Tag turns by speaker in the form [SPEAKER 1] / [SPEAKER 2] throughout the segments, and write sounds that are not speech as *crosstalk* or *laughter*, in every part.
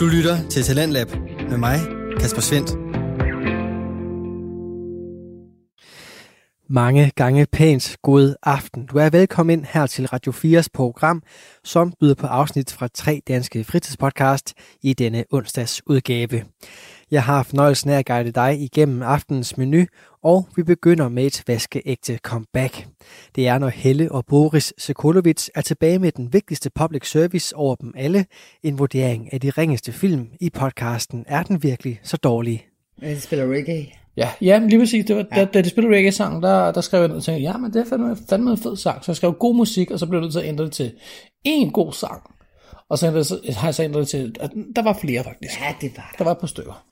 [SPEAKER 1] Du lytter til Talentlab med mig, Kasper Svendt.
[SPEAKER 2] Mange gange pænt god aften. Du er velkommen ind her til Radio 4's program, som byder på afsnit fra tre danske fritidspodcast i denne onsdags udgave. Jeg har fornøjelsen af at guide dig igennem aftenens menu, og vi begynder med et vaskeægte comeback. Det er, når Helle og Boris Sokolovic er tilbage med den vigtigste public service over dem alle, en vurdering af de ringeste film i podcasten Er den virkelig så dårlig?
[SPEAKER 3] Ja, de spiller reggae.
[SPEAKER 4] Ja, ja men lige præcis. Det var, ja. da, da de spillede reggae-sang, der, der skrev jeg ned og tænkte, ja, men det er fandme, fandme en fed sang. Så jeg skrev god musik, og så blev jeg nødt til at ændre det til en god sang. Og så, ændrede, så har jeg så ændret det til, at der var flere faktisk.
[SPEAKER 3] Ja, det var
[SPEAKER 4] Der var et par stykker.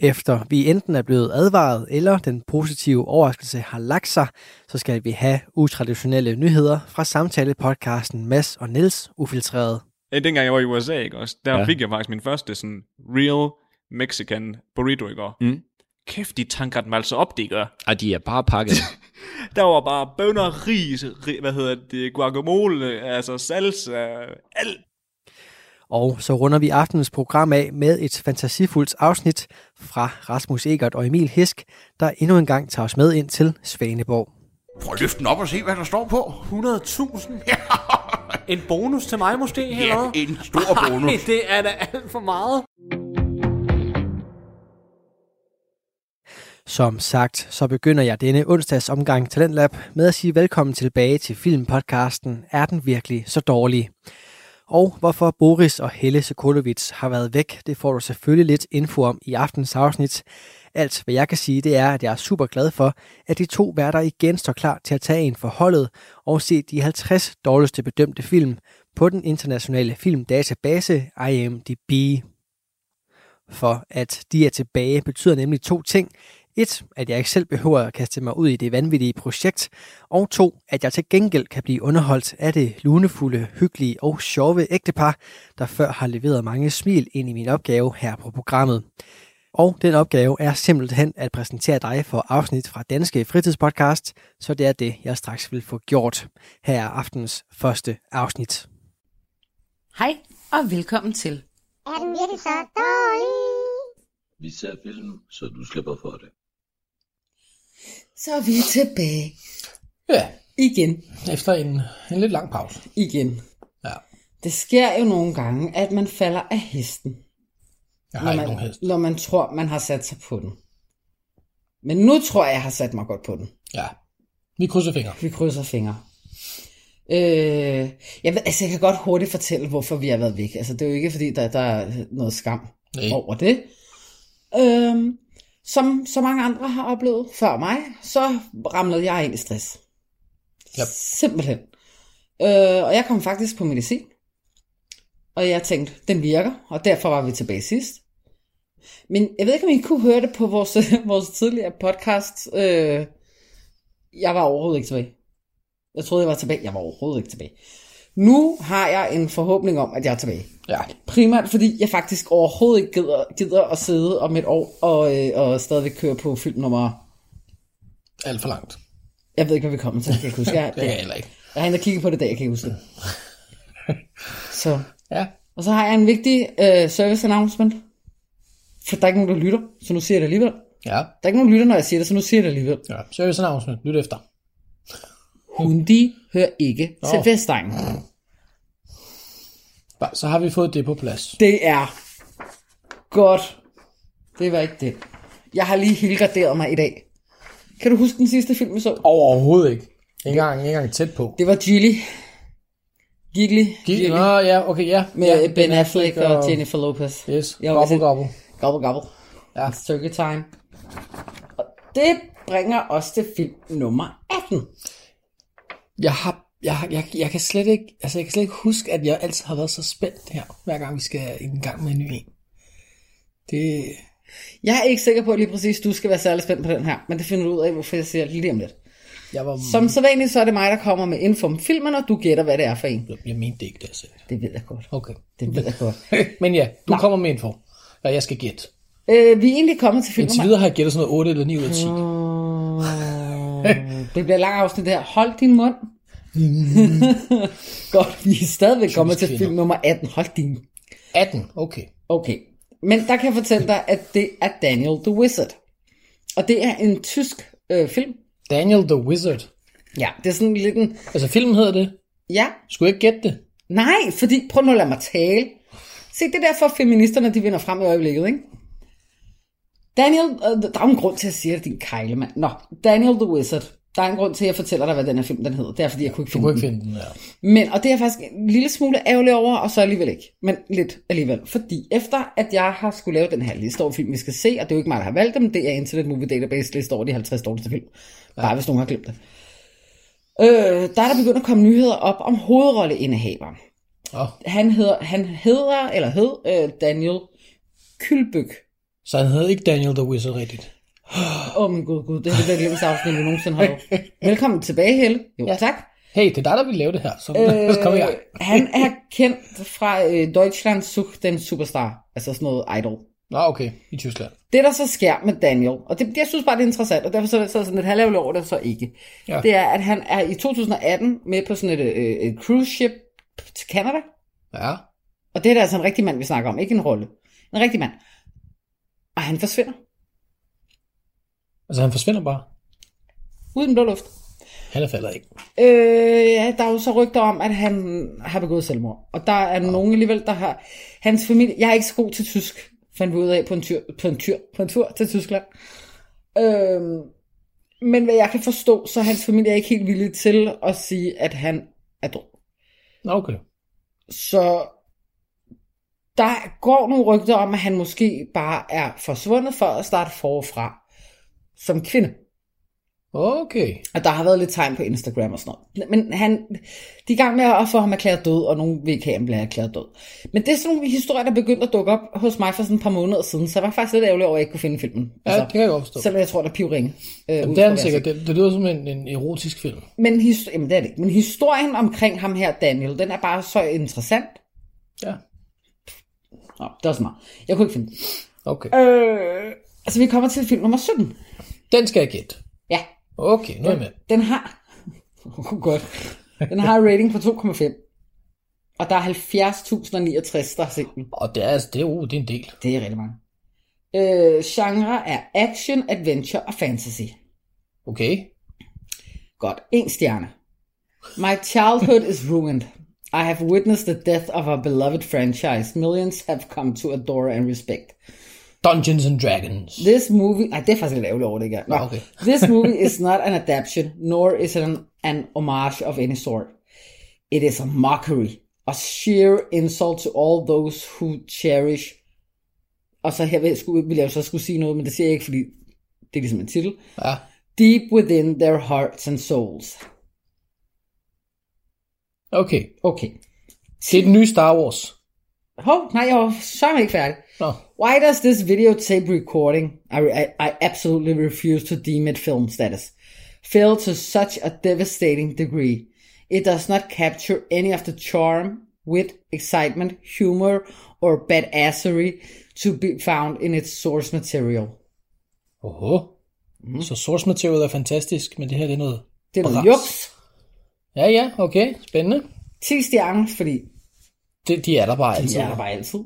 [SPEAKER 2] Efter vi enten er blevet advaret, eller den positive overraskelse har lagt sig, så skal vi have utraditionelle nyheder fra samtale-podcasten Mads og Niels Ufiltreret.
[SPEAKER 5] Øh, dengang jeg var i USA, ikke også, der
[SPEAKER 6] Ja.
[SPEAKER 5] ja. fik jeg faktisk min første sådan real Mexican burrito i går.
[SPEAKER 6] Mm.
[SPEAKER 5] Kæft, de tanker dem altså op, de gør.
[SPEAKER 6] Ej, de er bare pakket.
[SPEAKER 5] *laughs* Der var bare bønner, ris, ri- hvad hedder det, guacamole, altså salsa, alt.
[SPEAKER 2] Og så runder vi aftenens program af med et fantasifuldt afsnit fra Rasmus Egert og Emil Hisk, der endnu en gang tager os med ind til Svaneborg.
[SPEAKER 7] Prøv at løfte den op og se, hvad der står på.
[SPEAKER 8] 100.000? *laughs* En bonus til mig måske, eller
[SPEAKER 7] Ja,
[SPEAKER 8] hvad?
[SPEAKER 7] en stor bonus.
[SPEAKER 8] Ej, det er da alt for meget.
[SPEAKER 2] Som sagt, så begynder jeg denne onsdags omgang Talentlab med at sige velkommen tilbage til filmpodcasten Er den virkelig så dårlig? Og hvorfor Boris og Helle Sokolovic har været væk, det får du selvfølgelig lidt info om i aftens afsnit. Alt hvad jeg kan sige, det er, at jeg er super glad for, at de to værter igen står klar til at tage en for holdet og se de 50 dårligste bedømte film på den internationale filmdatabase IMDb. For at de er tilbage betyder nemlig to ting. Et, at jeg ikke selv behøver at kaste mig ud i det vanvittige projekt, og to, at jeg til gengæld kan blive underholdt af det lunefulde, hyggelige og sjove ægtepar, der før har leveret mange smil ind i min opgave her på programmet. Og den opgave er simpelthen at præsentere dig for afsnit fra Danske Fritidspodcast, så det er det, jeg straks vil få gjort. Her er aftens første afsnit.
[SPEAKER 9] Hej og velkommen til.
[SPEAKER 10] Er den virkelig så dårlig?
[SPEAKER 11] Vi ser film, så du slipper for det.
[SPEAKER 3] Så er vi tilbage.
[SPEAKER 4] Ja,
[SPEAKER 3] Igen.
[SPEAKER 4] efter en, en lidt lang pause.
[SPEAKER 3] Igen.
[SPEAKER 4] Ja.
[SPEAKER 3] Det sker jo nogle gange, at man falder af hesten,
[SPEAKER 4] Jeg har
[SPEAKER 3] når
[SPEAKER 4] ikke
[SPEAKER 3] man,
[SPEAKER 4] nogen hest.
[SPEAKER 3] når man tror, man har sat sig på den. Men nu tror jeg, jeg har sat mig godt på den.
[SPEAKER 4] Ja. Vi krydser fingre.
[SPEAKER 3] Vi krydser fingre. Øh, jeg, ved, altså, jeg kan godt hurtigt fortælle, hvorfor vi har været væk. Altså, det er jo ikke, fordi der, der er noget skam
[SPEAKER 4] Nej.
[SPEAKER 3] over det. Øh, som så mange andre har oplevet før mig, så ramlede jeg ind i stress.
[SPEAKER 4] Yep.
[SPEAKER 3] Simpelthen. Øh, og jeg kom faktisk på medicin. Og jeg tænkte, den virker, og derfor var vi tilbage sidst. Men jeg ved ikke, om I kunne høre det på vores, *laughs* vores tidligere podcast. Øh, jeg var overhovedet ikke tilbage. Jeg troede, jeg var tilbage. Jeg var overhovedet ikke tilbage. Nu har jeg en forhåbning om, at jeg er tilbage.
[SPEAKER 4] Ja.
[SPEAKER 3] Primært fordi jeg faktisk overhovedet ikke gider, gider at sidde om et år og, øh, og stadigvæk køre på film nummer...
[SPEAKER 4] Alt for langt.
[SPEAKER 3] Jeg ved ikke, hvad vi kommer til. Jeg kan ikke huske. Jeg,
[SPEAKER 4] Det kan jeg heller ikke.
[SPEAKER 3] jeg har hende kigget på det i dag, jeg kan ikke huske det. Så.
[SPEAKER 4] Ja.
[SPEAKER 3] Og så har jeg en vigtig øh, service announcement. For der er ikke nogen, der lytter, så nu siger jeg det alligevel. Der
[SPEAKER 4] Ja.
[SPEAKER 3] er ikke nogen, der lytter, når jeg siger det, så nu siger jeg det alligevel.
[SPEAKER 4] ja. Service announcement. Lyt efter.
[SPEAKER 3] Hundi hører ikke
[SPEAKER 4] Nå.
[SPEAKER 3] til Vestegn.
[SPEAKER 4] Bare- Så har vi fået det på plads.
[SPEAKER 3] Det er godt. Det var ikke det. Jeg har lige helgarderet mig i dag. Kan du huske den sidste film, vi så?
[SPEAKER 4] Overhovedet ikke. Ikke engang, ikke engang tæt på.
[SPEAKER 3] Det var Gilly. Gigli.
[SPEAKER 4] Gik, nå, ja, okay, ja.
[SPEAKER 3] Med
[SPEAKER 4] ja,
[SPEAKER 3] ja, Ben Affleck og Jennifer Lopez.
[SPEAKER 4] Yes,
[SPEAKER 3] Jeg var
[SPEAKER 4] gobble,
[SPEAKER 3] selv-
[SPEAKER 4] gobble.
[SPEAKER 3] Gobble, gobble.
[SPEAKER 4] Ja.
[SPEAKER 3] It's turkey time. Og det bringer os til film nummer 18.
[SPEAKER 4] Jeg har, jeg, har- jeg, jeg, kan slet ikke, altså jeg kan slet ikke huske, at jeg altid har været så spændt her, hver gang vi skal i gang med en ny en. Det,
[SPEAKER 3] Jeg er ikke sikker på at lige præcis, du skal være særlig spændt på den her, men det finder du ud af, hvorfor jeg siger lige om lidt.
[SPEAKER 4] jeg var,
[SPEAKER 3] Som så vanligt, så er det mig, der kommer med info om filmen, og du gætter, hvad det er for en.
[SPEAKER 4] jeg mente det ikke, det jeg sagde.
[SPEAKER 3] Det ved jeg godt.
[SPEAKER 4] Okay. *laughs*
[SPEAKER 3] Det ved jeg godt.
[SPEAKER 4] Men ja, du kommer med info, og jeg skal gætte.
[SPEAKER 3] Øh, vi er egentlig kommet til film
[SPEAKER 4] Indtil
[SPEAKER 3] nummer...
[SPEAKER 4] videre har jeg gættet sådan noget 8 eller 9 ud af 10.
[SPEAKER 3] Det bliver et langt afsnit der. Hold din
[SPEAKER 4] *laughs*
[SPEAKER 3] mund. godt, vi er stadigvæk kommet til
[SPEAKER 4] kvinder.
[SPEAKER 3] film nummer 18. Hold din
[SPEAKER 4] 18, okay.
[SPEAKER 3] Okay. Men der kan jeg fortælle dig, at det er Daniel the Wizard. Og det er en tysk øh, film.
[SPEAKER 4] Daniel the Wizard.
[SPEAKER 3] Ja, det er sådan lidt en...
[SPEAKER 4] Altså, filmen hedder det.
[SPEAKER 3] Ja,
[SPEAKER 4] Skulle jeg ikke gætte det?
[SPEAKER 3] Nej, fordi, prøv nu at lade mig tale. Se, det er derfor feministerne, de vinder frem i øjeblikket, ikke? Daniel, øh, der er jo en grund til, at jeg siger det, din kejle, mand. Nå, Daniel the Wizard. Der er en grund til, at jeg fortæller dig, hvad den her film den hedder. Det er, fordi jeg kunne ikke
[SPEAKER 4] Du
[SPEAKER 3] finde
[SPEAKER 4] kunne
[SPEAKER 3] den.
[SPEAKER 4] ikke finde den der.
[SPEAKER 3] Men, og det er jeg faktisk en lille smule ærgerlig over, og så alligevel ikke. Men lidt alligevel. Fordi efter, at jeg har skulle lave den her liste over film, vi skal se, og det er jo ikke mig, der har valgt dem, det er Internet Movie Database liste over de 50 dårligste film. Bare hvis nogen har glemt det. Øh, der er der begyndt at komme nyheder op om hovedrolleindehaveren.
[SPEAKER 4] Oh.
[SPEAKER 3] Han hedder, han hedder eller hed øh, Daniel Kylbyk.
[SPEAKER 4] Så han hedder ikke Daniel the Wizard rigtigt.
[SPEAKER 3] Åh oh, min gud, gud, det er det virkelig afsnit, vi nogensinde har lavet. Velkommen tilbage, Helle. Jo, ja. tak.
[SPEAKER 4] Hey, det er dig, der vil lave det her. *laughs* Så lad os komme i gang.
[SPEAKER 3] Øh, han er kendt fra øh, Deutschland sucht den Superstar, altså sådan noget idol.
[SPEAKER 4] Nå, okay. I Tyskland.
[SPEAKER 3] Det, der så sker med Daniel, og det, det- jeg synes bare, det er interessant, og derfor så er det så sådan lidt halvlavt over det, så ikke.
[SPEAKER 4] Ja.
[SPEAKER 3] Ja. Det er, at han er i 2018 med på sådan et, øh, et cruise ship til Canada,
[SPEAKER 4] Ja.
[SPEAKER 3] og det er da altså en rigtig mand, vi snakker om, ikke en rolle. En rigtig mand. Og han forsvinder.
[SPEAKER 4] Altså, han forsvinder bare.
[SPEAKER 3] Ud i den blå luft.
[SPEAKER 4] Han er faldet ikke.
[SPEAKER 3] Øh, ja, der er jo så rygter om, at han har begået selvmord. Og der er nogen alligevel, der har... Hans familie... Jeg er ikke så god til tysk, fandt vi ud af på en, tyr, på en, tyr, på en tur til Tyskland. Øh, men hvad jeg kan forstå, så er hans familie ikke helt villig til at sige, at han er død.
[SPEAKER 4] Nå, okay.
[SPEAKER 3] Så der går nogle rygter om, at han måske bare er forsvundet for at starte forfra som kvinde.
[SPEAKER 4] Okay.
[SPEAKER 3] Og der har været lidt tegn på Instagram og sådan noget. Men han, de er i gang med at få ham erklæret død, og nogle vil ikke have, at han bliver erklæret død. Men det er sådan nogle historier, der begyndte at dukke op hos mig for sådan et par måneder siden, så jeg var faktisk lidt ærgerlig over, at jeg ikke kunne finde filmen. Altså,
[SPEAKER 4] Ja, det kan jeg godt forstå.
[SPEAKER 3] selvom jeg tror, der er pivringe. Øh, ud
[SPEAKER 4] Jamen, Altså, det
[SPEAKER 3] fra,
[SPEAKER 4] er
[SPEAKER 3] hvad jeg
[SPEAKER 4] han sikkert. Det, det lyder som en, en erotisk film.
[SPEAKER 3] ser. Men, his, jamen, det er det. ikke. Men historien omkring ham her, Daniel, den er bare så interessant.
[SPEAKER 4] Ja.
[SPEAKER 3] Nå, det var så meget. Jeg kunne ikke finde den.
[SPEAKER 4] Okay.
[SPEAKER 3] Øh, altså, vi kommer til film nummer 17.
[SPEAKER 4] Den skal jeg gætte.
[SPEAKER 3] Ja,
[SPEAKER 4] Okay, nu er jeg med.
[SPEAKER 3] Den har... *laughs* Oh, godt. Den har en rating på 2,5. Og der er 70.069, der har set den.
[SPEAKER 4] Og det er, altså, det, er, uh, det er en del.
[SPEAKER 3] Det er rigtig mange. Øh, genre er action, adventure og fantasy.
[SPEAKER 4] Okay.
[SPEAKER 3] Godt. En stjerne. My childhood is ruined. I have witnessed the death of our beloved franchise. Millions have come to adore and respect.
[SPEAKER 4] Dungeons and Dragons.
[SPEAKER 3] This movie... Ej, det er faktisk lidt ærgerligt over det ikke? er. Nå.
[SPEAKER 4] Nå, okay.
[SPEAKER 3] *laughs* This
[SPEAKER 4] *laughs*
[SPEAKER 3] movie is not an adaptation, nor is it an, an homage of any sort. It is a mockery, a sheer insult to all those who cherish... Og så her vil jeg, skulle, vil jeg jo så skulle sige noget, men det siger jeg ikke, fordi det er ligesom en titel.
[SPEAKER 4] Ja.
[SPEAKER 3] Deep within their hearts and souls.
[SPEAKER 4] Okay.
[SPEAKER 3] Okay.
[SPEAKER 4] Det er den nye Star Wars.
[SPEAKER 3] Hov, nej, jeg var så ikke færdig.
[SPEAKER 4] Nå.
[SPEAKER 3] Why does this videotape recording, I, I, I absolutely refuse to deem it film status, fail to such a devastating degree? It does not capture any of the charm, wit, excitement, humor, or badassery to be found in its source material.
[SPEAKER 4] Oho. Mm. Så source material er fantastisk, men det her det er noget...
[SPEAKER 3] Det er noget
[SPEAKER 4] Bras.
[SPEAKER 3] juks.
[SPEAKER 4] Ja, ja, okay. Spændende.
[SPEAKER 3] 10 stjerner, fordi
[SPEAKER 4] Det, de er der bare altid.
[SPEAKER 3] altid. Ja, bare altid.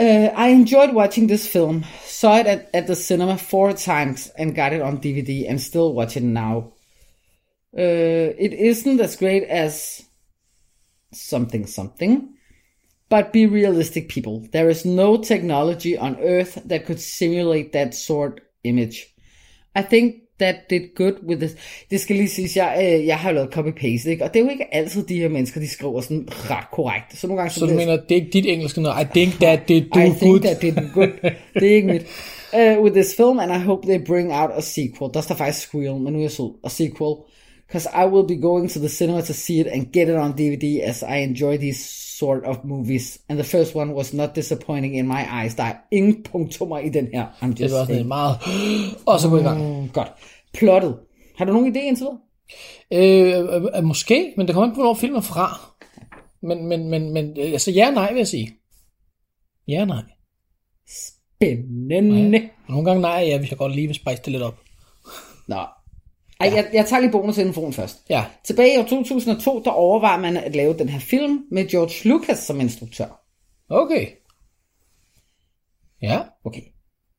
[SPEAKER 3] Uh, I enjoyed watching this film. Saw it at, at the cinema four times and got it on DVD and still watch it now. Uh, it isn't as great as something something. But be realistic, people. There is no technology on earth that could simulate that sort image. I think that did good with this. Det skal lige siges, jeg, øh, jeg har jo lavet copy-paste, ikke? Og det er jo ikke altid de her mennesker, de skriver sådan ret korrekt. Så nogle gange
[SPEAKER 4] Så du
[SPEAKER 3] bliver-
[SPEAKER 4] mener, det er ikke dit engelske noget? I think that did do
[SPEAKER 3] I
[SPEAKER 4] good.
[SPEAKER 3] think that did good. Det er ikke mit. Uh, with this film, and I hope they bring out a sequel. Der står faktisk squeal, men nu er jeg så a sequel. Because I will be going to the cinema to see it and get it on DVD as I enjoy these sort of movies. And the first one was not disappointing in my eyes. Der er ingen punktummer i den her. I'm
[SPEAKER 4] Det
[SPEAKER 3] just
[SPEAKER 4] var
[SPEAKER 3] saying.
[SPEAKER 4] sådan en meget... Og så går vi i gang.
[SPEAKER 3] Mm, godt. Plottet. Har du nogen idé indtil videre?
[SPEAKER 4] Øh, øh, øh, måske, men det kommer an på, hvornår filmen er fra. Men, men, men, men øh, altså ja og nej, vil jeg sige. Ja og nej.
[SPEAKER 3] Spændende.
[SPEAKER 4] Nej. Nogle gange nej, ja, hvis jeg godt lige vil spice det lidt op.
[SPEAKER 3] Nå. Ej, jeg, jeg tager lige bonusinfoen først.
[SPEAKER 4] Ja,
[SPEAKER 3] Tilbage i år 2002, der overvejer man at lave den her film med George Lucas som instruktør.
[SPEAKER 4] okay. Ja,
[SPEAKER 3] Okay.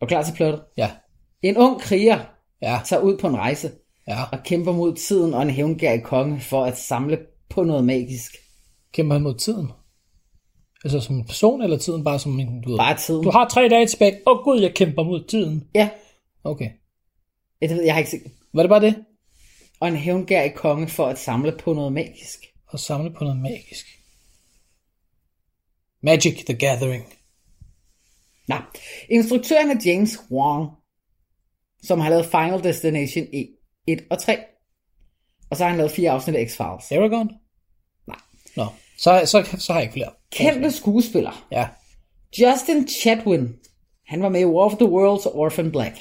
[SPEAKER 3] Er du klar til plottet?
[SPEAKER 4] ja,
[SPEAKER 3] En ung kriger
[SPEAKER 4] ja,
[SPEAKER 3] tager ud på en rejse
[SPEAKER 4] ja.
[SPEAKER 3] og kæmper mod tiden og en hævngærig konge for at samle på noget magisk.
[SPEAKER 4] Kæmper han mod tiden? Altså som en person, eller tiden bare som en... Du, ved,
[SPEAKER 3] Bare tiden.
[SPEAKER 4] du har tre dage tilbage. Åh oh, gud, jeg kæmper mod tiden.
[SPEAKER 3] Ja,
[SPEAKER 4] Okay.
[SPEAKER 3] Ja, det ved jeg, jeg har ikke set.
[SPEAKER 4] Var det bare det?
[SPEAKER 3] Og en hævngærig konge for at samle på noget magisk.
[SPEAKER 4] Og samle på noget magisk. Magic the Gathering.
[SPEAKER 3] Nå, instruktøren er James Wong, som har lavet Final Destination E 1 og 3. Og så har han lavet fire afsnit af X-Files.
[SPEAKER 4] Aragon?
[SPEAKER 3] Nej.
[SPEAKER 4] Nå, så, så, så har jeg ikke flere.
[SPEAKER 3] Kendte skuespiller.
[SPEAKER 4] Ja.
[SPEAKER 3] Justin Chatwin. Han var med i War of the Worlds og Orphan Black.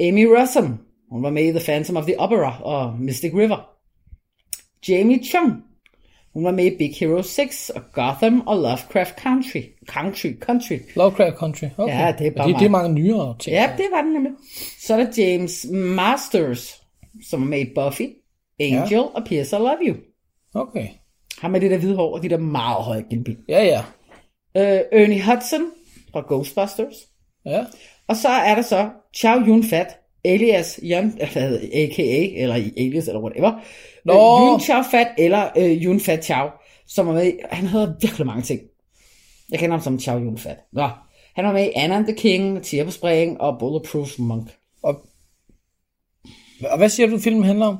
[SPEAKER 3] Amy Rossum. Hun var med i The Phantom of the Opera og Mystic River. Jamie Chung. Hun var med i Big Hero 6 og Gotham og Lovecraft Country. Country, country.
[SPEAKER 4] Lovecraft Country. Okay.
[SPEAKER 3] Ja, det er bare
[SPEAKER 4] det, det
[SPEAKER 3] mig.
[SPEAKER 4] er mange nyere ting.
[SPEAKER 3] Ja, det var den nemlig. Så er der James Masters, som var med i Buffy, Angel ja. og Pierce I Love You.
[SPEAKER 4] Okay.
[SPEAKER 3] Ham med det der hvide hår og de der meget høje kindben.
[SPEAKER 4] Ja, ja.
[SPEAKER 3] Øh, Ernie Hudson fra Ghostbusters.
[SPEAKER 4] Ja.
[SPEAKER 3] Og så er der så Chow Yun Fat, alias Yun, *laughs* hvad hedder det, a.k.a. eller i alias eller whatever.
[SPEAKER 4] Nå.
[SPEAKER 3] Øh, Yun Chow Fat eller øh, Yun Fat Chow, som var med i- han hedder virkelig mange ting. Jeg kender ham som Chow Yun Fat. Nå. Han var med i Anna and the King, Tia på Spring og Bulletproof Monk.
[SPEAKER 4] Og hvad siger du, filmen handler om?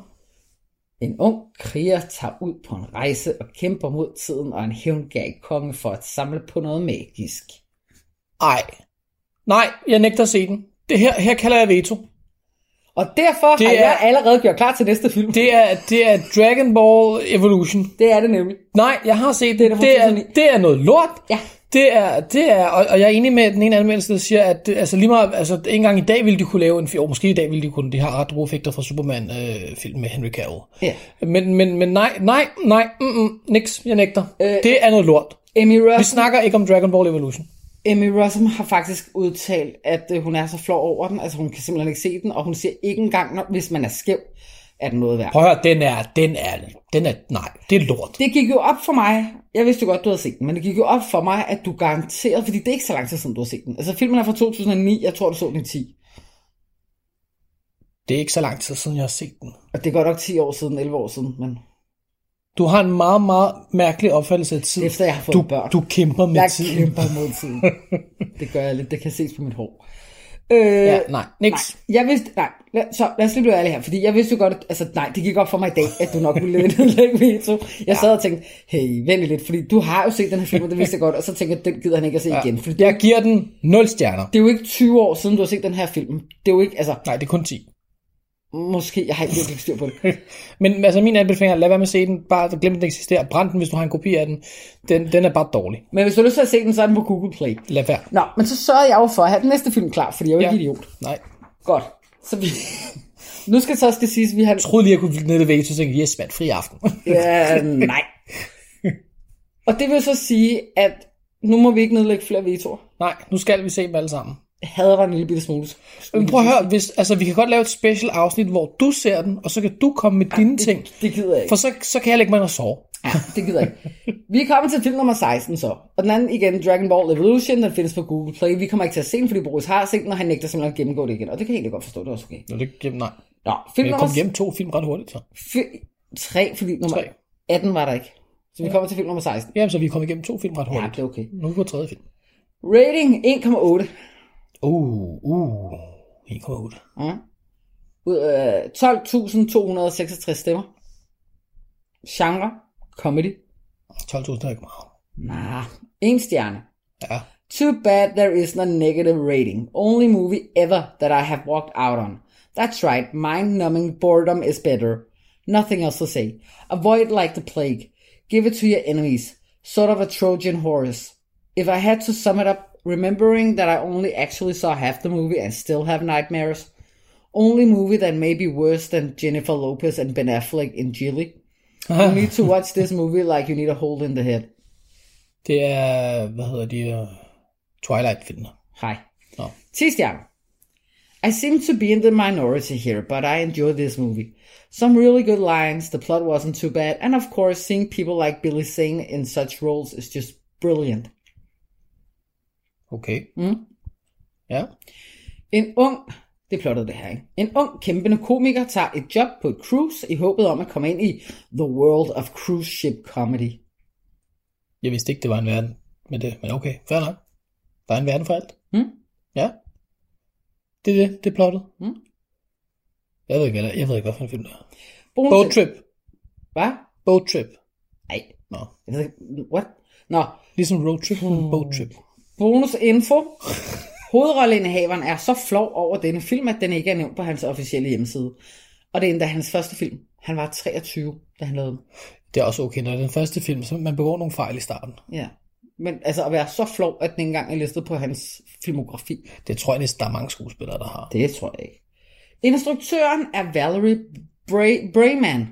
[SPEAKER 3] En ung kriger tager ud på en rejse og kæmper mod tiden og en hævngærig konge for at samle på noget magisk.
[SPEAKER 4] Ej. Nej, jeg nægter at se den. Det her, her kalder jeg veto.
[SPEAKER 3] Og derfor det
[SPEAKER 4] Det
[SPEAKER 3] har er... jeg
[SPEAKER 4] er-
[SPEAKER 3] allerede gjort klar til næste film. Det,
[SPEAKER 4] Det er, det er Dragon Ball Evolution.
[SPEAKER 3] det er det nemlig.
[SPEAKER 4] Nej, jeg har set
[SPEAKER 3] Det er
[SPEAKER 4] det.
[SPEAKER 3] der
[SPEAKER 4] Det er,
[SPEAKER 3] 2009.
[SPEAKER 4] det er noget lort.
[SPEAKER 3] Ja.
[SPEAKER 4] Det er, det er, og, og jeg er enig med den ene anmeldelse, der siger, at det, altså lige meget, altså ikke engang i dag ville de kunne lave en, jo, måske i dag ville de kunne, de har ret gode effekter fra Superman-film med Henry Cavill.
[SPEAKER 3] Ja.
[SPEAKER 4] Men, men, men nej, nej, nej, mm, mm, niks, jeg nægter.
[SPEAKER 3] Øh,
[SPEAKER 4] Øh, det er noget lort.
[SPEAKER 3] Emmy
[SPEAKER 4] Vi
[SPEAKER 3] Rossum,
[SPEAKER 4] snakker ikke om Dragon Ball Evolution.
[SPEAKER 3] Emmy Rossum har faktisk udtalt, at øh, hun er så flov over den, altså hun kan simpelthen ikke se den, og hun siger ikke engang, når, hvis man er skæv, er den noget værd.
[SPEAKER 4] Prøv at høre, den er, den er, den er, nej, det er lort.
[SPEAKER 3] Det gik jo op for mig, jeg vidste jo godt, du havde set den, men det gik jo op for mig, at du garanteret, fordi det er ikke så lang tid siden, du har set den. Altså filmen er fra 2009, jeg tror, du så den i 10.
[SPEAKER 4] Det er ikke så lang tid siden, jeg har set den.
[SPEAKER 3] Og det er godt nok 10 år siden, 11 år siden, men
[SPEAKER 4] Du har en meget, meget mærkelig opfattelse af tid.
[SPEAKER 3] Efter jeg har fået
[SPEAKER 4] du,
[SPEAKER 3] børn.
[SPEAKER 4] Du kæmper med
[SPEAKER 3] jeg
[SPEAKER 4] tiden.
[SPEAKER 3] kæmper mod
[SPEAKER 4] *laughs*
[SPEAKER 3] tiden. Det gør jeg lidt, det kan ses på mit hår. Øh, ja,
[SPEAKER 4] Ja, nej, niks.
[SPEAKER 3] Nej, jeg vidste, nej, lad, så lad os lige blive ærlige her, fordi jeg vidste jo godt, at, altså nej, det gik op for mig i dag, at du nok ville *laughs* nedlægge veto. Jeg ja. sad og tænkte, hey, vent lige lidt, fordi du har jo set den her film, og det vidste jeg godt, og så tænkte jeg, den gider han ikke at se ja. igen, fordi det,
[SPEAKER 4] Jeg giver den 0 stjerner.
[SPEAKER 3] det er jo ikke 20 år siden, du har set den her film. Det er jo ikke, altså,
[SPEAKER 4] Nej, det er kun 10.
[SPEAKER 3] måske, jeg har ikke virkelig ikke styr på det.
[SPEAKER 4] *laughs* Men altså, min anbefaling er, lad være med at se den. Bare glem, at den eksisterer. Brænd den, hvis du har en kopi af den. Den, den er bare dårlig.
[SPEAKER 3] Men hvis du har lyst til at se den, så er den på Google Play.
[SPEAKER 4] Lad være.
[SPEAKER 3] Nå, men så sørger jeg jo for at have den næste film klar, fordi jeg er jo ikke
[SPEAKER 4] Ja.
[SPEAKER 3] idiot.
[SPEAKER 4] Nej.
[SPEAKER 3] Godt. Så vi... *laughs* nu skal så også det siges, at vi har...
[SPEAKER 4] Jeg troede lige, jeg kunne ned i væggen, så tænkte jeg, yes, mand, fri aften. *laughs*
[SPEAKER 3] Ja, *laughs* nej. Og det vil så sige, at nu må vi ikke nedlægge flere vetoer.
[SPEAKER 4] Nej, nu skal vi se dem alle sammen.
[SPEAKER 3] Jeg hader dig en lille bitte smule. Øhm,
[SPEAKER 4] Men prøv at høre, hvis, altså, vi kan godt lave et special afsnit, hvor du ser den, og så kan du komme med dine ting.
[SPEAKER 3] Det gider jeg ikke.
[SPEAKER 4] For så, så kan jeg lægge mig ind og sove.
[SPEAKER 3] Ja, det gider jeg ikke. Vi er kommet til film nummer 16 så. Og den anden igen, Dragon Ball Evolution, den findes på Google Play. Vi kommer ikke til at se den, fordi Boris har set den, og han nægter simpelthen at gennemgå det igen. Og det kan jeg egentlig godt forstå, det er også okay.
[SPEAKER 4] Nå, det hjem, nej.
[SPEAKER 3] Nå,
[SPEAKER 4] Men
[SPEAKER 3] film
[SPEAKER 4] jeg
[SPEAKER 3] nummer
[SPEAKER 4] kom hjem to film ret hurtigt, så.
[SPEAKER 3] Fi- 3, fordi nummer
[SPEAKER 4] Tre.
[SPEAKER 3] 18 var der ikke. Så vi kommer til film nummer 16.
[SPEAKER 4] Jamen, så vi er kommet igennem to film ret
[SPEAKER 3] Ja,
[SPEAKER 4] hurtigt.
[SPEAKER 3] det er okay.
[SPEAKER 4] Nu er vi på tredje film.
[SPEAKER 3] Rating 1,8.
[SPEAKER 4] Uh, uh, 1,8.
[SPEAKER 3] Ja. Ud af 12.266 stemmer. Genre? Comedy?
[SPEAKER 4] 12.000 er ikke meget.
[SPEAKER 3] Nah. En stjerne.
[SPEAKER 4] Ja.
[SPEAKER 3] Too bad there is no negative rating. Only movie ever that I have walked out on. That's right, mind-numbing boredom is better. Nothing else to say. Avoid like the plague. Give it to your enemies. Sort of a Trojan horse. If I had to sum it up, remembering that I only actually saw half the movie and still have nightmares, only movie that may be worse than Jennifer Lopez and Ben Affleck in Gilly. You need to watch this movie like you need a hole in the head.
[SPEAKER 4] Det er, hvad hedder de, uh, Twilight-filmene.
[SPEAKER 3] Hi.
[SPEAKER 4] Nå.
[SPEAKER 3] Tistian. I seem to be in the minority here, but I enjoy this movie. Some really good lines, the plot wasn't too bad, and of course, seeing people like Billy Singh in such roles is just brilliant.
[SPEAKER 4] Okay.
[SPEAKER 3] Mm.
[SPEAKER 4] Ja.
[SPEAKER 3] En ung, det plottede det her, ikke? En ung, kæmpende komiker tager et job på et cruise i håbet om at komme ind i The World of Cruise Ship Comedy.
[SPEAKER 4] Jeg vidste ikke, det var en verden med det, men okay, fair nok. Der er en verden for alt.
[SPEAKER 3] Mm.
[SPEAKER 4] Ja. Det er det, det er plottet.
[SPEAKER 3] Mm.
[SPEAKER 4] Jeg ved ikke, hvad der, jeg ved ikke, hvad for en film det er.
[SPEAKER 3] Bonus-
[SPEAKER 4] Boat Trip.
[SPEAKER 3] Hvad?
[SPEAKER 4] Boat Trip.
[SPEAKER 3] Nej,
[SPEAKER 4] Nå.
[SPEAKER 3] jeg ved ikke, what? Nå,
[SPEAKER 4] Ligesom Road Trip, men Boat Trip.
[SPEAKER 3] bonusinfo. Hovedrolleindehaveren er så flov over denne film, at den ikke er nævnt på hans officielle hjemmeside. Og det er endda hans første film. Han var 23, da han lavede den.
[SPEAKER 4] Det er også okay, når det er den første film, så man begår nogle fejl i starten.
[SPEAKER 3] Ja. Men altså at være så flov, at den ikke engang er listet på hans filmografi.
[SPEAKER 4] Det tror jeg næsten, der er mange skuespillere, der har.
[SPEAKER 3] Det tror jeg ikke. Instruktøren er Valerie Bray, Brayman.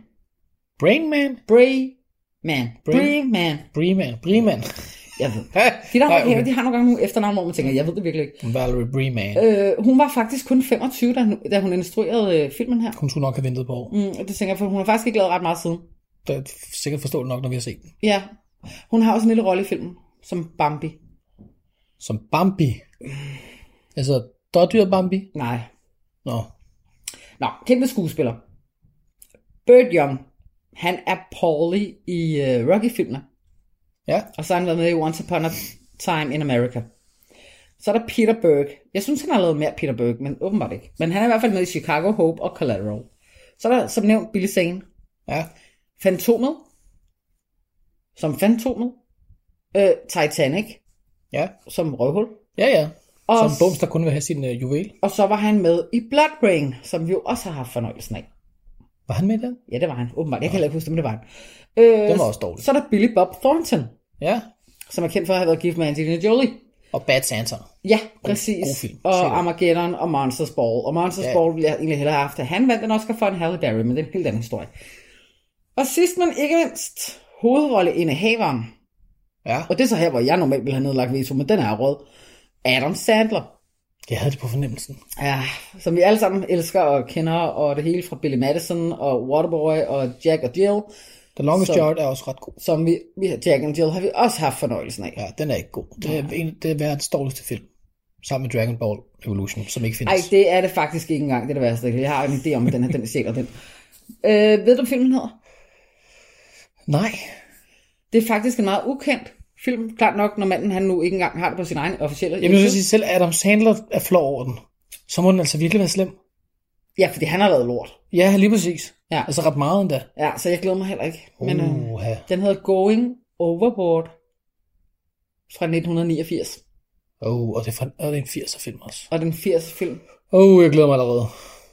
[SPEAKER 4] Brain Man?
[SPEAKER 3] Brayman.
[SPEAKER 4] Bray-
[SPEAKER 3] Brayman.
[SPEAKER 4] Breeman. Breeman.
[SPEAKER 3] Jeg ved.
[SPEAKER 4] Ha!
[SPEAKER 3] De, der
[SPEAKER 4] Nej,
[SPEAKER 3] har,
[SPEAKER 4] okay.
[SPEAKER 3] de har nogle gange nogle efternavn, hvor man tænker, jeg ved det virkelig ikke.
[SPEAKER 4] Valerie Breeman.
[SPEAKER 3] Øh, hun var faktisk kun 25, da hun, da hun instruerede øh, filmen her.
[SPEAKER 4] Hun skulle nok have ventet på år.
[SPEAKER 3] Mm, og det tænker jeg, for hun har faktisk ikke lavet ret meget siden.
[SPEAKER 4] Det er sikkert forståeligt nok, når vi har set den.
[SPEAKER 3] Ja. Hun har også en lille rolle i filmen, som Bambi.
[SPEAKER 4] Som Bambi. Altså, dårdyr Bambi?
[SPEAKER 3] Nej.
[SPEAKER 4] Nå.
[SPEAKER 3] Nå, kæmpe skuespiller. Bird Young. Han er Paulie i øh, Rocky-filmen.
[SPEAKER 4] Ja.
[SPEAKER 3] Og så har han været med i Once Upon a Time in America. Så er der Peter Berg. Jeg synes, han har lavet mere Peter Berg, men åbenbart ikke. Men han er i hvert fald med i Chicago, Hope og Collateral. Så er der, som nævnt, Billy Zane.
[SPEAKER 4] Ja.
[SPEAKER 3] Fantomet. Som Fantomet. Øh, Titanic.
[SPEAKER 4] Ja.
[SPEAKER 3] Som Røvhul.
[SPEAKER 4] Ja, ja.
[SPEAKER 3] Og,
[SPEAKER 4] Som Bums, der kun vil have sin øh, juvel.
[SPEAKER 3] og så var han med i Blood Rain, som vi jo også har haft fornøjelsen af.
[SPEAKER 4] Var han med i den?
[SPEAKER 3] Ja, det var han. Åbenbart. Jeg kan heller ikke huske, om det var han. Øh,
[SPEAKER 4] Den var også dårlig.
[SPEAKER 3] Så er der Billy Bob Thornton,
[SPEAKER 4] Ja.
[SPEAKER 3] som er kendt for at have været gift med Angelina Jolie.
[SPEAKER 4] Og Bad Santa.
[SPEAKER 3] Ja, præcis.
[SPEAKER 4] god film. Sikkert.
[SPEAKER 3] og Armageddon og Monsters Ball. Og Monsters
[SPEAKER 4] Ja.
[SPEAKER 3] ja. Ball ville jeg egentlig hellere have haft. at Han vandt den Oscar for en Halle Berry, men det er en helt anden historie. Og sidst men ikke mindst, hovedrolleindehaveren.
[SPEAKER 4] Ja.
[SPEAKER 3] Og det er så her, hvor jeg normalt ville have nedlagt veto, men den er rød. Adam Sandler.
[SPEAKER 4] Jeg havde det på fornemmelsen.
[SPEAKER 3] Ja, som vi alle sammen elsker og kender, og det hele fra Billy Madison og Waterboy og Jack og Jill,
[SPEAKER 4] The Longest
[SPEAKER 3] Så-
[SPEAKER 4] Yard er også ret god.
[SPEAKER 3] som vi, vi Jack and Jill har vi også haft fornøjelsen af.
[SPEAKER 4] Ja, den er ikke god. Det er, en, det er verdens dårligste film. Sammen med Dragon Ball Evolution, som ikke findes.
[SPEAKER 3] Nej, det er det faktisk ikke engang, det er det værste. Jeg har en idé om, at den her, den sjæler den. Øh, ved du, hvad filmen hedder?
[SPEAKER 4] Nej.
[SPEAKER 3] Det er faktisk en meget ukendt film, klart nok, når manden han nu ikke engang har det på sin egen officielle
[SPEAKER 4] Jamen, jeg vil så sige, selv Adam Sandler er flov over den. Så må den altså virkelig være slem.
[SPEAKER 3] Ja, fordi han har lavet lort.
[SPEAKER 4] Ja, Uh. lige præcis.
[SPEAKER 3] Ja.
[SPEAKER 4] Altså ret meget endda.
[SPEAKER 3] Ja, så jeg glæder mig heller ikke. Men øh,
[SPEAKER 4] Uha.
[SPEAKER 3] den hedder Going Overboard fra 1989.
[SPEAKER 4] Oh, og det er, fra, og det er en 80'er film også.
[SPEAKER 3] Og den 80 film.
[SPEAKER 4] Åh, oh, jeg glæder mig allerede.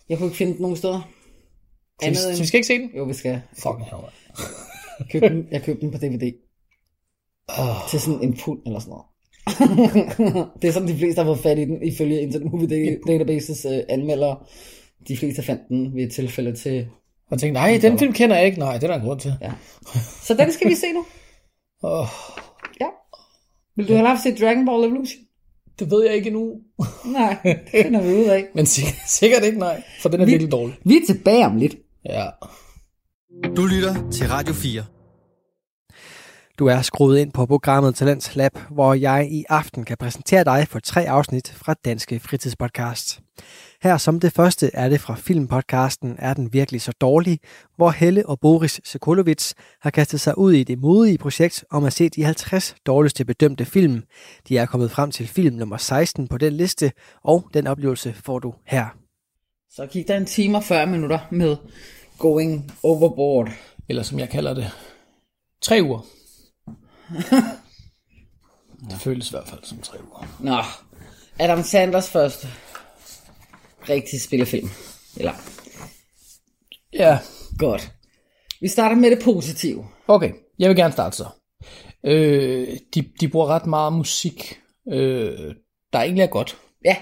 [SPEAKER 3] Jeg kunne ikke finde den nogen steder.
[SPEAKER 4] Så vi,
[SPEAKER 3] Andet end-
[SPEAKER 4] så vi skal ikke se den?
[SPEAKER 3] Jo, vi skal.
[SPEAKER 4] Fucking hell, man.
[SPEAKER 3] Købe den. Jeg købte den på DVD
[SPEAKER 4] Oh,
[SPEAKER 3] til sådan en pund eller sådan noget. *laughs* det er sådan, de fleste har fået fat i den, ifølge Internet Movie Da- Databases øh, anmeldere. De fleste fandt den ved et tilfælde til...
[SPEAKER 4] og jeg tænkte, nej, den film kender jeg ikke. Nej, det er der en grund til.
[SPEAKER 3] Ja. Så den skal vi se nu.
[SPEAKER 4] Oh,
[SPEAKER 3] Ja. *laughs* Vil du hellere have set Dragon Ball Evolution?
[SPEAKER 4] det ved jeg ikke endnu.
[SPEAKER 3] Nej, det finder vi ud af.
[SPEAKER 4] Men sikkert, *laughs* sikkert ikke, nej. For den er
[SPEAKER 3] Vi-
[SPEAKER 4] virkelig dårlig.
[SPEAKER 3] Vi er tilbage om lidt.
[SPEAKER 4] Ja.
[SPEAKER 1] Du lytter til Radio 4.
[SPEAKER 2] Du er skruet ind på programmet Talents Lab, hvor jeg i aften kan præsentere dig for tre afsnit fra Danske Fritidspodcast. Her som det første er det fra filmpodcasten Er den virkelig så dårlig, hvor Helle og Boris Sekulovits har kastet sig ud i det modige projekt om at se de 50 dårligste bedømte film. De er kommet frem til film nummer 16 på den liste, og den oplevelse får du her.
[SPEAKER 3] Så gik der en time og 40 minutter med Going Overboard.
[SPEAKER 4] Eller som jeg kalder det, tre uger.
[SPEAKER 3] *laughs*
[SPEAKER 4] Det føles i hvert fald som tre uger.
[SPEAKER 3] Nå, Adam Sanders første rigtig spillefilm. Eller,
[SPEAKER 4] Ja,
[SPEAKER 3] godt. Vi starter med det positive.
[SPEAKER 4] Okay, jeg vil gerne starte så. Øh, de, de bruger ret meget musik, øh, der egentlig er godt.
[SPEAKER 3] Ja,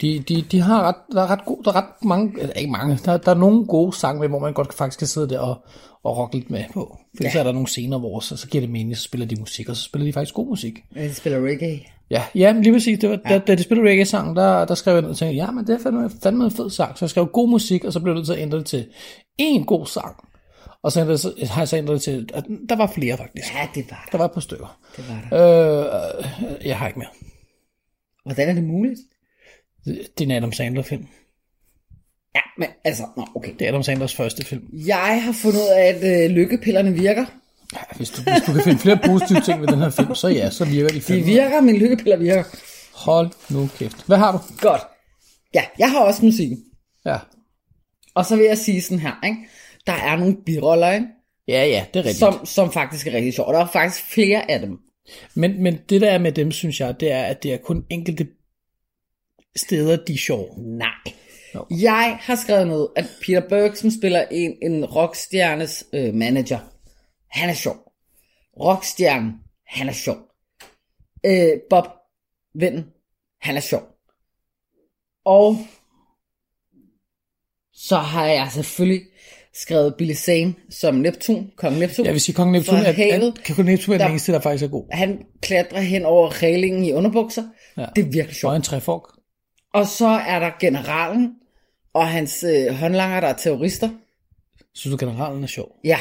[SPEAKER 4] De, de, de har ret, der er ret, gode, der er ret mange, eller ikke mange, der, der er nogle gode sange med, hvor man godt faktisk kan sidde der og, og rocke lidt med på. For ja. så er der nogle scener, hvor så, så giver det mening, så spiller de musik, og så spiller de faktisk god musik.
[SPEAKER 3] de spiller reggae.
[SPEAKER 4] Ja, ja men lige præcis, det var, ja. da, da de spillede reggae-sangen, der, der skrev jeg ned og tænkte, ja, men det er fandme, fandme en fed sang. Så jeg skrev god musik, og så blev jeg nødt til at ændre det til en god sang. Og så, ændrede jeg så har jeg så ændret det til, at der var flere faktisk.
[SPEAKER 3] Ja, det var
[SPEAKER 4] Der
[SPEAKER 3] det.
[SPEAKER 4] var et par stykker.
[SPEAKER 3] det, var det.
[SPEAKER 4] Øh, jeg har ikke mere.
[SPEAKER 3] Hvordan er det muligt?
[SPEAKER 4] Det er en Adam Sandler-film.
[SPEAKER 3] Ja, men altså, nå, okay.
[SPEAKER 4] Det er Adam Sandlers første film.
[SPEAKER 3] Jeg har fundet ud af, at øh, lykkepillerne virker.
[SPEAKER 4] Hvis du, hvis du kan finde flere positive ting ved den her film, så ja, så virker de
[SPEAKER 3] De
[SPEAKER 4] fandme.
[SPEAKER 3] virker, men lykkepiller virker.
[SPEAKER 4] Hold nu kæft. Hvad har du?
[SPEAKER 3] Godt. Ja, jeg har også musikken.
[SPEAKER 4] Ja.
[SPEAKER 3] Og så vil jeg sige sådan her, ikke? Der er nogle biroller, ikke?
[SPEAKER 4] Ja, ja, det er rigtigt. Som...
[SPEAKER 3] Som, som faktisk er rigtig sjove. Der er faktisk flere af dem.
[SPEAKER 4] Men, men det der er med dem, synes jeg, det er, at det er kun enkelte steder, de er sjove.
[SPEAKER 3] Nej.
[SPEAKER 4] Nå.
[SPEAKER 3] Jeg har skrevet ned, at Peter Berg, som spiller en, en rockstjernes øh, manager, han er sjov. Rockstjernen, han er sjov. Øh, Bob, vennen, han er sjov. Og så har jeg selvfølgelig skrevet Billy Zane som Neptun, kong Neptun.
[SPEAKER 4] Jeg vil sige, Kong Neptun
[SPEAKER 3] Fra
[SPEAKER 4] er,
[SPEAKER 3] havet.
[SPEAKER 4] er, kan Kong Neptun er den
[SPEAKER 3] Der-
[SPEAKER 4] eneste, der faktisk er god.
[SPEAKER 3] Han klatrer hen over reglingen i underbukser.
[SPEAKER 4] Ja.
[SPEAKER 3] Det er virkelig sjovt.
[SPEAKER 4] Og en træfork.
[SPEAKER 3] Og så er der generalen og hans øh, håndlanger, der er terrorister.
[SPEAKER 4] Synes du, generalen er sjov?
[SPEAKER 3] Ja,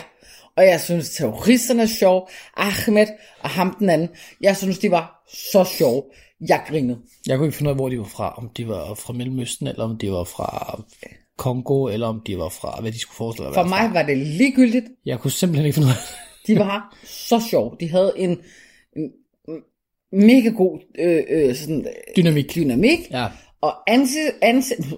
[SPEAKER 3] og jeg synes, terroristerne er sjov. Ahmed og ham den anden. Jeg synes, de var så sjove. Jeg grinede.
[SPEAKER 4] Jeg kunne ikke finde ud af, hvor de var fra. Om de var fra Mellemøsten, eller om de var fra Kongo, eller om de var fra, hvad de skulle forestille at
[SPEAKER 3] For
[SPEAKER 4] være
[SPEAKER 3] mig var det ligegyldigt.
[SPEAKER 4] Fra. Jeg kunne simpelthen ikke finde ud af det.
[SPEAKER 3] De var så sjove. De havde en, en mega god øh, øh, sådan, øh,
[SPEAKER 4] Dynamik.
[SPEAKER 3] dynamik.
[SPEAKER 4] Ja.
[SPEAKER 3] Og ansi- ansi-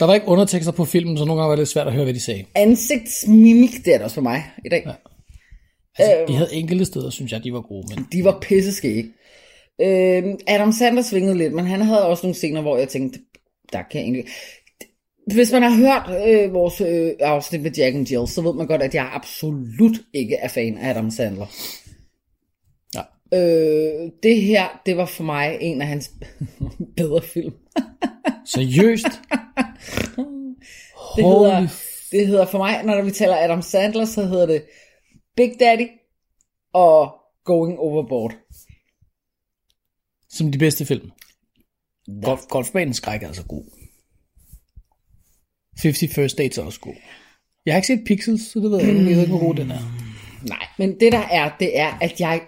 [SPEAKER 4] Der var ikke undertekster på filmen, så nogle gange var det lidt svært at høre, hvad de sagde.
[SPEAKER 3] *laughs* ansigtsmimik, det er det også for mig i dag. Ja.
[SPEAKER 4] Altså,
[SPEAKER 3] Øhm.
[SPEAKER 4] de havde enkelte steder, synes jeg, de var gode, men
[SPEAKER 3] De var pisseskæg. Øh, Adam Sandler svingede lidt, men han havde også nogle scener, hvor jeg tænkte, der kan jeg egentlig... Hvis man har hørt øh, vores øh, afsnit med Jack and Jill, så ved man godt, at jeg absolut ikke er fan af Adam Sandler.
[SPEAKER 4] Nej.
[SPEAKER 3] Øh, det her, det var for mig en af hans *laughs* bedre film.
[SPEAKER 4] seriøst.
[SPEAKER 3] *laughs* Det
[SPEAKER 4] Holy
[SPEAKER 3] hedder, det hedder for mig, når vi taler Adam Sandler, så hedder det Big Daddy og Going Overboard.
[SPEAKER 4] Som de bedste film. Golf, golfbanen skræk er altså god. 50 First Dates er også god. Jeg har ikke set Pixels, så det ved jeg ikke, jeg ved ikke, hvor god den er.
[SPEAKER 3] Mm. Nej, men det der er, det er, at jeg...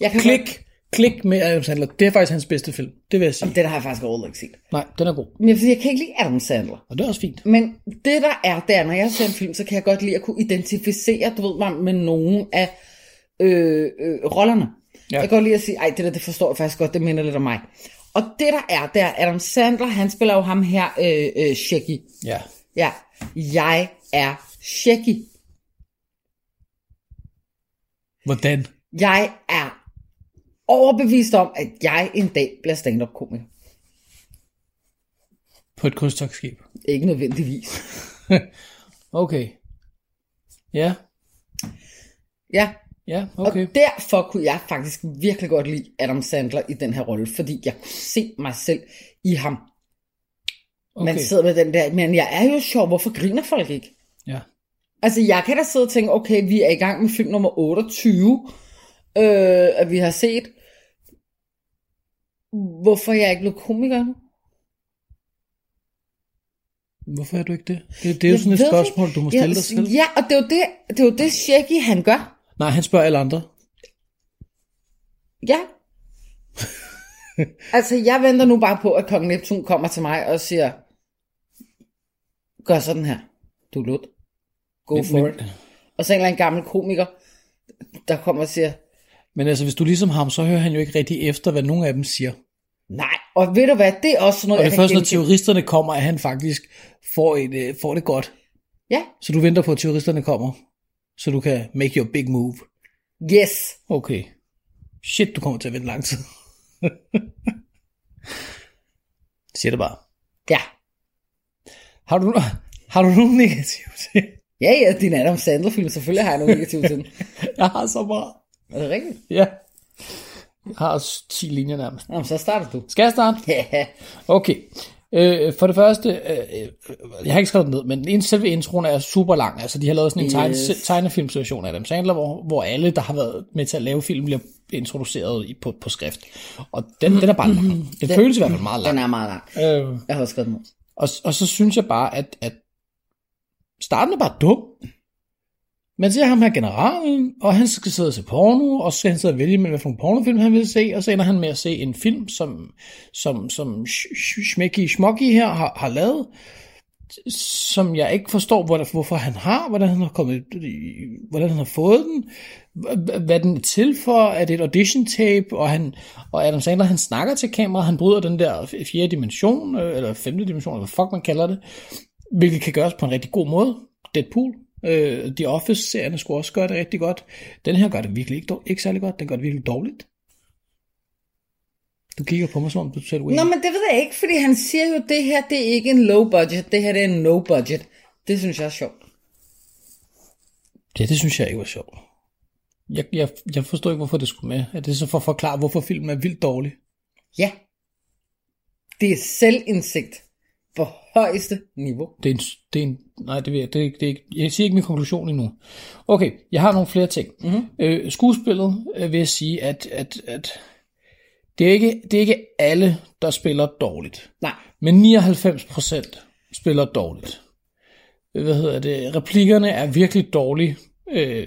[SPEAKER 3] jeg kan
[SPEAKER 4] Klik, klik med Adam Sandler. Det er faktisk hans bedste film. Det vil jeg sige.
[SPEAKER 3] Jamen, det der har jeg faktisk overhovedet ikke set.
[SPEAKER 4] Nej, den er god.
[SPEAKER 3] Men jeg, jeg kan ikke lide Adam Sandler.
[SPEAKER 4] Og det er også fint.
[SPEAKER 3] Men det der er, det er, når jeg ser en film, så kan jeg godt lide at kunne identificere, du ved mig, med nogen af øh, øh, rollerne. Ja.
[SPEAKER 4] Ja.
[SPEAKER 3] Jeg kan godt lide at sige, ej, det der, det forstår jeg faktisk godt, det minder lidt om mig. Og det der er, det er Adam Sandler, han spiller jo ham her, øh, øh, Shaggy.
[SPEAKER 4] Ja.
[SPEAKER 3] Ja, jeg er Shaggy.
[SPEAKER 4] Hvordan?
[SPEAKER 3] Jeg er overbevist om, at jeg en dag bliver stand-up-komiker.
[SPEAKER 4] På et krydstogsskib.
[SPEAKER 3] Ikke nødvendigvis.
[SPEAKER 4] Okay. Ja,
[SPEAKER 3] Ja,
[SPEAKER 4] ja, okay.
[SPEAKER 3] Okay. Og derfor kunne jeg faktisk virkelig godt lide Adam Sandler i den her rolle, fordi jeg kunne se mig selv i ham. Okay. Man
[SPEAKER 4] okay.
[SPEAKER 3] sidder med den der, men jeg er jo sjov, hvorfor griner folk ikke?
[SPEAKER 4] Ja.
[SPEAKER 3] Altså, jeg kan da sidde og tænke, okay, vi er i gang med film nummer 28, øh, at vi har set. Hvorfor er jeg ikke blevet komiker nu?
[SPEAKER 4] Hvorfor er du ikke det? Det, det er jo
[SPEAKER 3] Jeg
[SPEAKER 4] sådan
[SPEAKER 3] ved
[SPEAKER 4] et spørgsmål, du må
[SPEAKER 3] Ja,
[SPEAKER 4] stille dig selv.
[SPEAKER 3] Ja, og det er jo det, det, er jo det Shaggy, han gør.
[SPEAKER 4] Nej, han spørger alle andre.
[SPEAKER 3] Ja. altså, jeg venter nu bare på, at kong Neptun kommer til mig og siger, gør sådan her, du er lut. Go
[SPEAKER 4] Men-
[SPEAKER 3] for
[SPEAKER 4] men-
[SPEAKER 3] it. Og så en eller anden gammel komiker, der kommer og siger,
[SPEAKER 4] Men altså, hvis du er ligesom ham, så hører han jo ikke rigtig efter, hvad nogen af dem siger.
[SPEAKER 3] nej, og ved du hvad, det er også sådan noget,
[SPEAKER 4] Og det
[SPEAKER 3] jeg
[SPEAKER 4] er
[SPEAKER 3] kan
[SPEAKER 4] først, når
[SPEAKER 3] genkende.
[SPEAKER 4] terroristerne kommer, at han faktisk får, et, øh, får det godt.
[SPEAKER 3] Ja,
[SPEAKER 4] Så du venter på, at terroristerne kommer, så du kan make your big move.
[SPEAKER 3] yes.
[SPEAKER 4] Okay. Shit, du kommer til at vente lang tid. *laughs* Siger det bare.
[SPEAKER 3] Ja.
[SPEAKER 4] Har du, *laughs* har du nogen negativ til?
[SPEAKER 3] Ja, ja, din Adam Sandler-film, selvfølgelig har jeg noget negativt til den.
[SPEAKER 4] *laughs* Jeg har så meget.
[SPEAKER 3] Er det rigtigt?
[SPEAKER 4] Ja. Jeg har også 10 linjer nærmest.
[SPEAKER 3] Nå, men så starter du. *laughs*
[SPEAKER 4] Skal jeg starte?
[SPEAKER 3] Ja,
[SPEAKER 4] Okay. Øh, for det første, øh, øh, jeg har ikke skrevet den ned, men en selve introen er super lang. Altså, de har lavet sådan en tegne,
[SPEAKER 3] Yes.
[SPEAKER 4] tegnefilmsituation af Adam Sandler, hvor, hvor alle, der har været med til at lave film, bliver introduceret i, på, på skrift. Og den, den er bare lang. Den, føles i hvert fald meget
[SPEAKER 3] Mhm. den
[SPEAKER 4] lang.
[SPEAKER 3] er meget lang.
[SPEAKER 4] Øh,
[SPEAKER 3] Jeg har også skrevet den ned.
[SPEAKER 4] og, og så synes jeg bare, at, at starten er bare dum. Man ser ham her generalen, og han skal sidde og se porno, og så skal han sidde og vælge mellem, hvad for en pornofilm han vil se, og så ender han med at se en film, som, som, som Sh- Sh- Schmecky Schmocky her har, har lavet, som jeg ikke forstår, hvor der, hvorfor han har, hvordan han har, kommet, hvordan han har fået den, hva- hvad den er til for, er det et audition tape, og, han, og Adam Sandler, han snakker til kameraet, han bryder den der fjerde dimension, øh, eller femte dimension, eller hvad fuck man kalder det, hvilket kan gøres på en rigtig god måde. Deadpool, øh, The Office-serierne skulle også gøre det rigtig godt. Den her gør det virkelig ikke, dår- ikke særlig godt, den gør det virkelig dårligt. Du kigger på mig, som om du selv
[SPEAKER 3] Nå, men det ved jeg ikke, fordi han siger jo, at det her det er ikke en low budget, det her det er en no budget. Det synes jeg er sjovt.
[SPEAKER 4] Ja, det synes jeg ikke var sjovt. Jeg, jeg, jeg forstår ikke, hvorfor det skulle med. Er det så for at forklare, hvorfor filmen er vildt dårlig?
[SPEAKER 3] Ja. Det er selvindsigt på højeste niveau.
[SPEAKER 4] Det er en, det er en, nej, det, ved jeg, det, er ikke- det er ikke, jeg siger ikke min konklusion endnu. Okay, jeg har nogle flere ting. Mm-hmm. Øh, skuespillet øh, vil jeg sige, at, at, at det, er ikke, det er ikke alle, der spiller dårligt.
[SPEAKER 3] Nej.
[SPEAKER 4] Men 99% spiller dårligt. Øh, Hvad hedder det? Replikkerne er virkelig dårlige. Øh,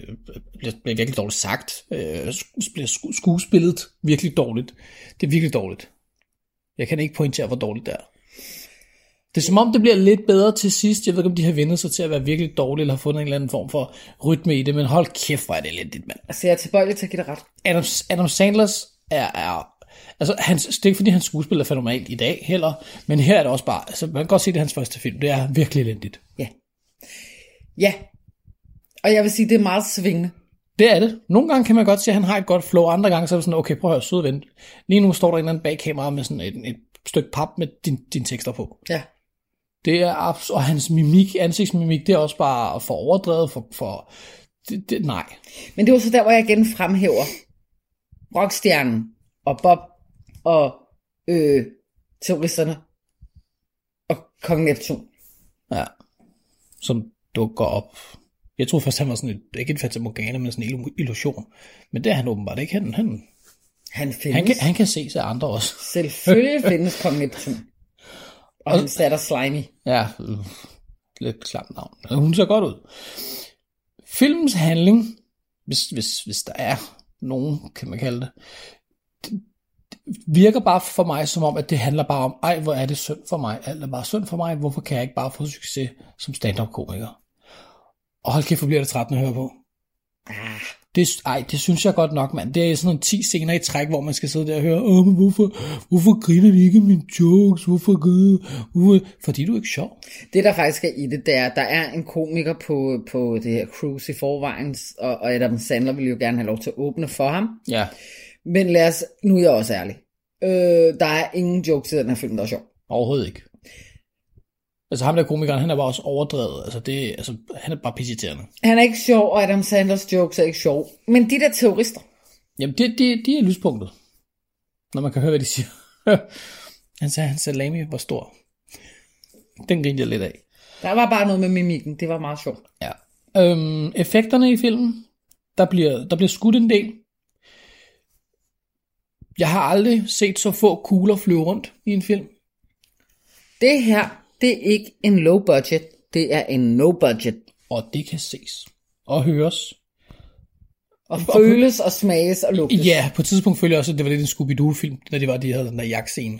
[SPEAKER 4] bliver, bliver virkelig dårligt sagt. Øh, sku- bliver sku- skuespillet virkelig dårligt. Det er virkelig dårligt. Jeg kan ikke pointere, hvor dårligt det er. Det er som om, det bliver lidt bedre til sidst. Jeg ved ikke, om de har vendt sig til at være virkelig dårlige, eller har fundet en eller anden form for rytme i det, men hold kæft, hvor er det elendigt, mand.
[SPEAKER 3] Altså, jeg er tilbøjelig til at give dig ret.
[SPEAKER 4] Adam, Adam Sandlers er, er altså hans, det er ikke fordi hans skuespil er fænomenalt i dag heller, men her er det også bare, altså man kan godt se, det er hans første film, det er virkelig elendigt.
[SPEAKER 3] Ja. Og jeg vil sige, det er meget svingende.
[SPEAKER 4] Det er det. Nogle gange kan man godt se, at han har et godt flow, andre gange så er det sådan, okay, prøv at høre, søde ven. Lige nu står der en eller anden bag kameraet med sådan et, et stykke pap med din, dine tekster på.
[SPEAKER 3] Ja.
[SPEAKER 4] Det er abs- og hans mimik, ansigtsmimik, det er også bare for overdrevet, for, for det, det, nej.
[SPEAKER 3] Men det var så der, hvor jeg igen fremhæver rockstjernen og Bob og øh, terroristerne og Kong Neptun.
[SPEAKER 4] Ja. Som dukker op. Jeg tror først, han var sådan et, ikke en Fata Morgana, men sådan en illu- illusion. Men det er han åbenbart ikke. Han, han,
[SPEAKER 3] Han findes.
[SPEAKER 4] han, kan, han kan ses af andre også.
[SPEAKER 3] Selvfølgelig findes Kong Neptun. Og
[SPEAKER 4] Og-
[SPEAKER 3] han satte slimy.
[SPEAKER 4] Ja, øh, lidt klamt navn. Men Hun ser godt ud. Filmens handling, hvis, hvis, hvis der er nogen, kan man kalde det, det, det virker bare for mig som om, at det handler bare om, ej, hvor er det synd for mig, alt er bare synd for mig, hvorfor kan jeg ikke bare få succes som stand-up-komiker? Og hold kæft, hvor bliver det trættende at høre på. Det, ej, det synes jeg godt nok, mand. Det er sådan nogle 10 scener i træk, hvor man skal sidde der og høre, Åh, men hvorfor, hvorfor griner de ikke af mine jokes? Hvorfor griner hvorfor? Fordi du er ikke sjov.
[SPEAKER 3] Det, der faktisk er i det, det er, at der er en komiker på, på det her cruise i forvejen, og, og Adam Sandler ville jo gerne have lov til at åbne for ham.
[SPEAKER 4] Ja.
[SPEAKER 3] Men lad os, nu er jeg også ærlig. Øh, der er ingen jokes i den her film, der er sjov.
[SPEAKER 4] Overhovedet ikke. Altså ham der komikeren, han er bare også overdrevet. Altså, det, altså han er bare pisseterende.
[SPEAKER 3] Han er ikke sjov, og Adam Sanders jokes er ikke sjov. Men de der terrorister,
[SPEAKER 4] Jamen, det, det, de er lyspunktet. Når man kan høre, hvad de siger. *laughs* han sagde, at hans salami var stor. Den grinte jeg lidt af.
[SPEAKER 3] der var bare noget med mimikken. Det var meget sjovt.
[SPEAKER 4] Ja. Øhm, effekterne i filmen, der bliver, der bliver skudt en del. Jeg har aldrig set så få kugler flyve rundt i en film.
[SPEAKER 3] Det her, det er ikke en low budget. Det er en no budget.
[SPEAKER 4] Og det kan ses. Og høres.
[SPEAKER 3] Og føles og smages og lugtes.
[SPEAKER 4] Ja, på et tidspunkt følte jeg også, at det var lidt en Scooby-Doo-film, da de, var, de havde den der jagtscene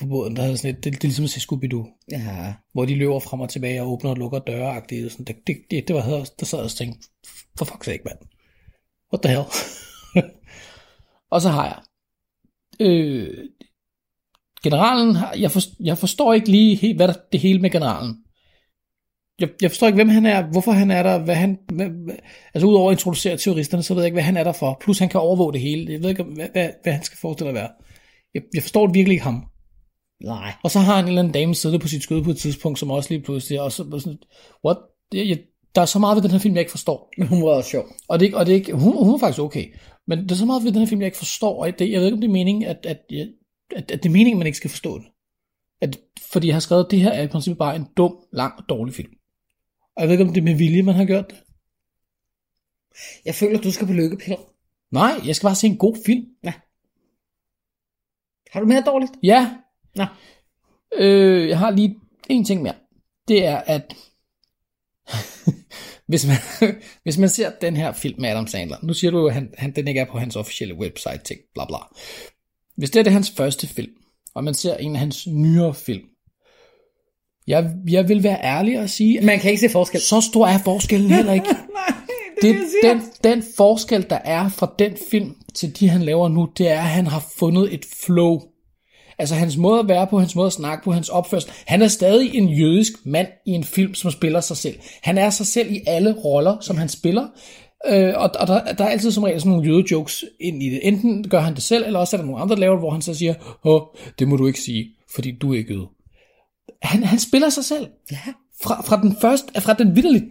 [SPEAKER 4] på båden. Der havde sådan lidt, det, det er ligesom at se Scooby-Doo,
[SPEAKER 3] ja.
[SPEAKER 4] hvor de løber frem og tilbage og åbner og lukker døre og sådan. Det, det, det, det var, havde jeg også- der sad jeg også og tænkte, for fuck's sake, mand. What the hell? *laughs* og så har jeg. Øh, generalen, har, jeg, for, jeg forstår ikke lige, helt, hvad der, det hele med generalen. Jeg, jeg forstår ikke, hvem han er, hvorfor han er der, hvad han... Hvad, hvad, altså udover at introducere terroristerne, så ved jeg ikke, hvad han er der for. Plus han kan overvåge det hele. Jeg ved ikke, hvad, hvad, hvad han skal forestille at være. Jeg, jeg forstår virkelig ikke ham.
[SPEAKER 3] Nej.
[SPEAKER 4] Og så har han en eller anden dame siddet på sit skød på et tidspunkt, som også lige pludselig... Og så, var sådan, what? Jeg, jeg, der er så meget ved den her film, jeg ikke forstår.
[SPEAKER 3] Men hun var også sjov.
[SPEAKER 4] Og det, er ikke- og det er ikke, hun, hun er faktisk okay. Men der er så meget ved den her film, jeg ikke forstår. Og det, jeg ved ikke, om det er meningen, at, at, jeg- at, at det er meningen, man ikke skal forstå den. At, fordi jeg har skrevet, at det her er i princippet bare en dum, lang, dårlig film. Og jeg ved ikke, om det er med vilje, man har gjort det.
[SPEAKER 3] Jeg føler, du skal på lykkepiller.
[SPEAKER 4] Nej, jeg skal bare se en god film.
[SPEAKER 3] Har du mere dårligt?
[SPEAKER 4] Ja.
[SPEAKER 3] Nå.
[SPEAKER 4] Øh, jeg har lige en ting mere. Det er, at *laughs* Hvis man, *laughs* hvis man ser den her film med Adam Sandler, nu siger du jo, at han, han, den ikke er på hans officielle website, ting, bla bla. Hvis det er det hans første film, og man ser en af hans nyere film, jeg, jeg vil være ærlig og sige, at
[SPEAKER 3] Man kan ikke se forskel.
[SPEAKER 4] så stor er forskellen heller *laughs* ikke. det, den, den forskel, der er fra den film til de, han laver nu, det er, at han har fundet et flow. Altså hans måde at være på, hans måde at snakke på, hans opførsel. Han er stadig en jødisk mand i en film, som spiller sig selv. Han er sig selv i alle roller, som han spiller. Øh, og og der, der er altid som regel sådan nogle jødejokes ind i det. Enten gør han det selv, eller også er der nogle andre, der laver det, hvor han så siger, Åh, det må du ikke sige, fordi du er ikke jøde han, han spiller sig selv. Ja. Fra, fra den første, fra den vidderligt,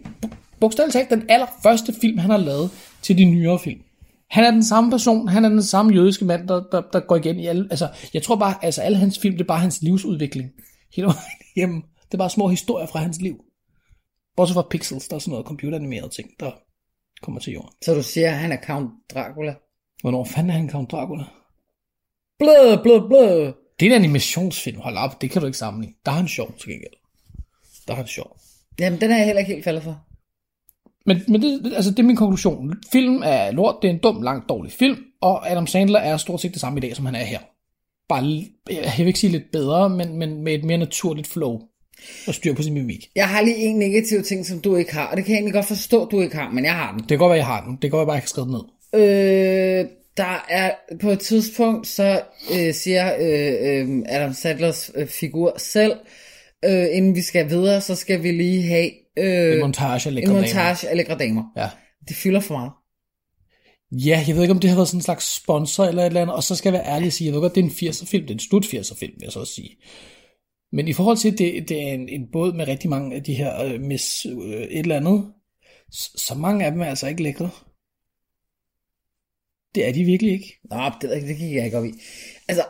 [SPEAKER 4] bogstaveligt talt, den allerførste film, han har lavet til de nyere film. Han er den samme person, han er den samme jødiske mand, der, der, der går igen i alle, altså, jeg tror bare, altså alle hans film, det er bare hans livsudvikling. Hele *laughs* vejen igennem. Det er bare små historier fra hans liv. Bortset fra Pixels, der er sådan noget computeranimeret ting, der kommer til jorden.
[SPEAKER 3] Så du siger, at han er Count Dracula?
[SPEAKER 4] Hvornår fanden er han Count Dracula?
[SPEAKER 3] Blød, blød, blød.
[SPEAKER 4] Det er en animationsfilm, hold op, det kan du ikke sammenligne. Der er han sjov til gengæld. Der er han sjov.
[SPEAKER 3] Jamen, den er jeg heller ikke helt faldet for.
[SPEAKER 4] Men, men det, altså, det er min konklusion. Film er lort, det er en dum, langt dårlig film, og Adam Sandler er stort set det samme i dag, som han er her. Bare, l- jeg vil ikke sige lidt bedre, men, men med et mere naturligt flow og styr på sin mimik.
[SPEAKER 3] Jeg har lige en negativ ting, som du ikke har, og det kan jeg egentlig godt forstå, at du ikke har, men jeg har den.
[SPEAKER 4] Det kan godt være, jeg har den. Det kan godt være, jeg kan skrive den ned.
[SPEAKER 3] Øh, der er på et tidspunkt, så øh, siger øh, øh, Adam Sandlers øh, figur selv, øh, inden vi skal videre, så skal vi lige have øh,
[SPEAKER 4] En montage af lækre
[SPEAKER 3] en
[SPEAKER 4] damer.
[SPEAKER 3] montage af lækre damer.
[SPEAKER 4] Ja.
[SPEAKER 3] Det fylder for meget.
[SPEAKER 4] ja, jeg ved ikke, om det har været sådan en slags sponsor eller et eller andet, og så skal jeg være ærlig og sige, jeg ved godt, det er en 80'er film, det er en slut 80'er film, vil jeg så også sige. Men i forhold til, at det, det er en, en båd med rigtig mange af de her øh, mis øh, et eller andet, så, så mange af dem er altså ikke lækre. Det er de virkelig ikke.
[SPEAKER 3] Nå, det, ved jeg ikke, det gik jeg ikke op i. Altså,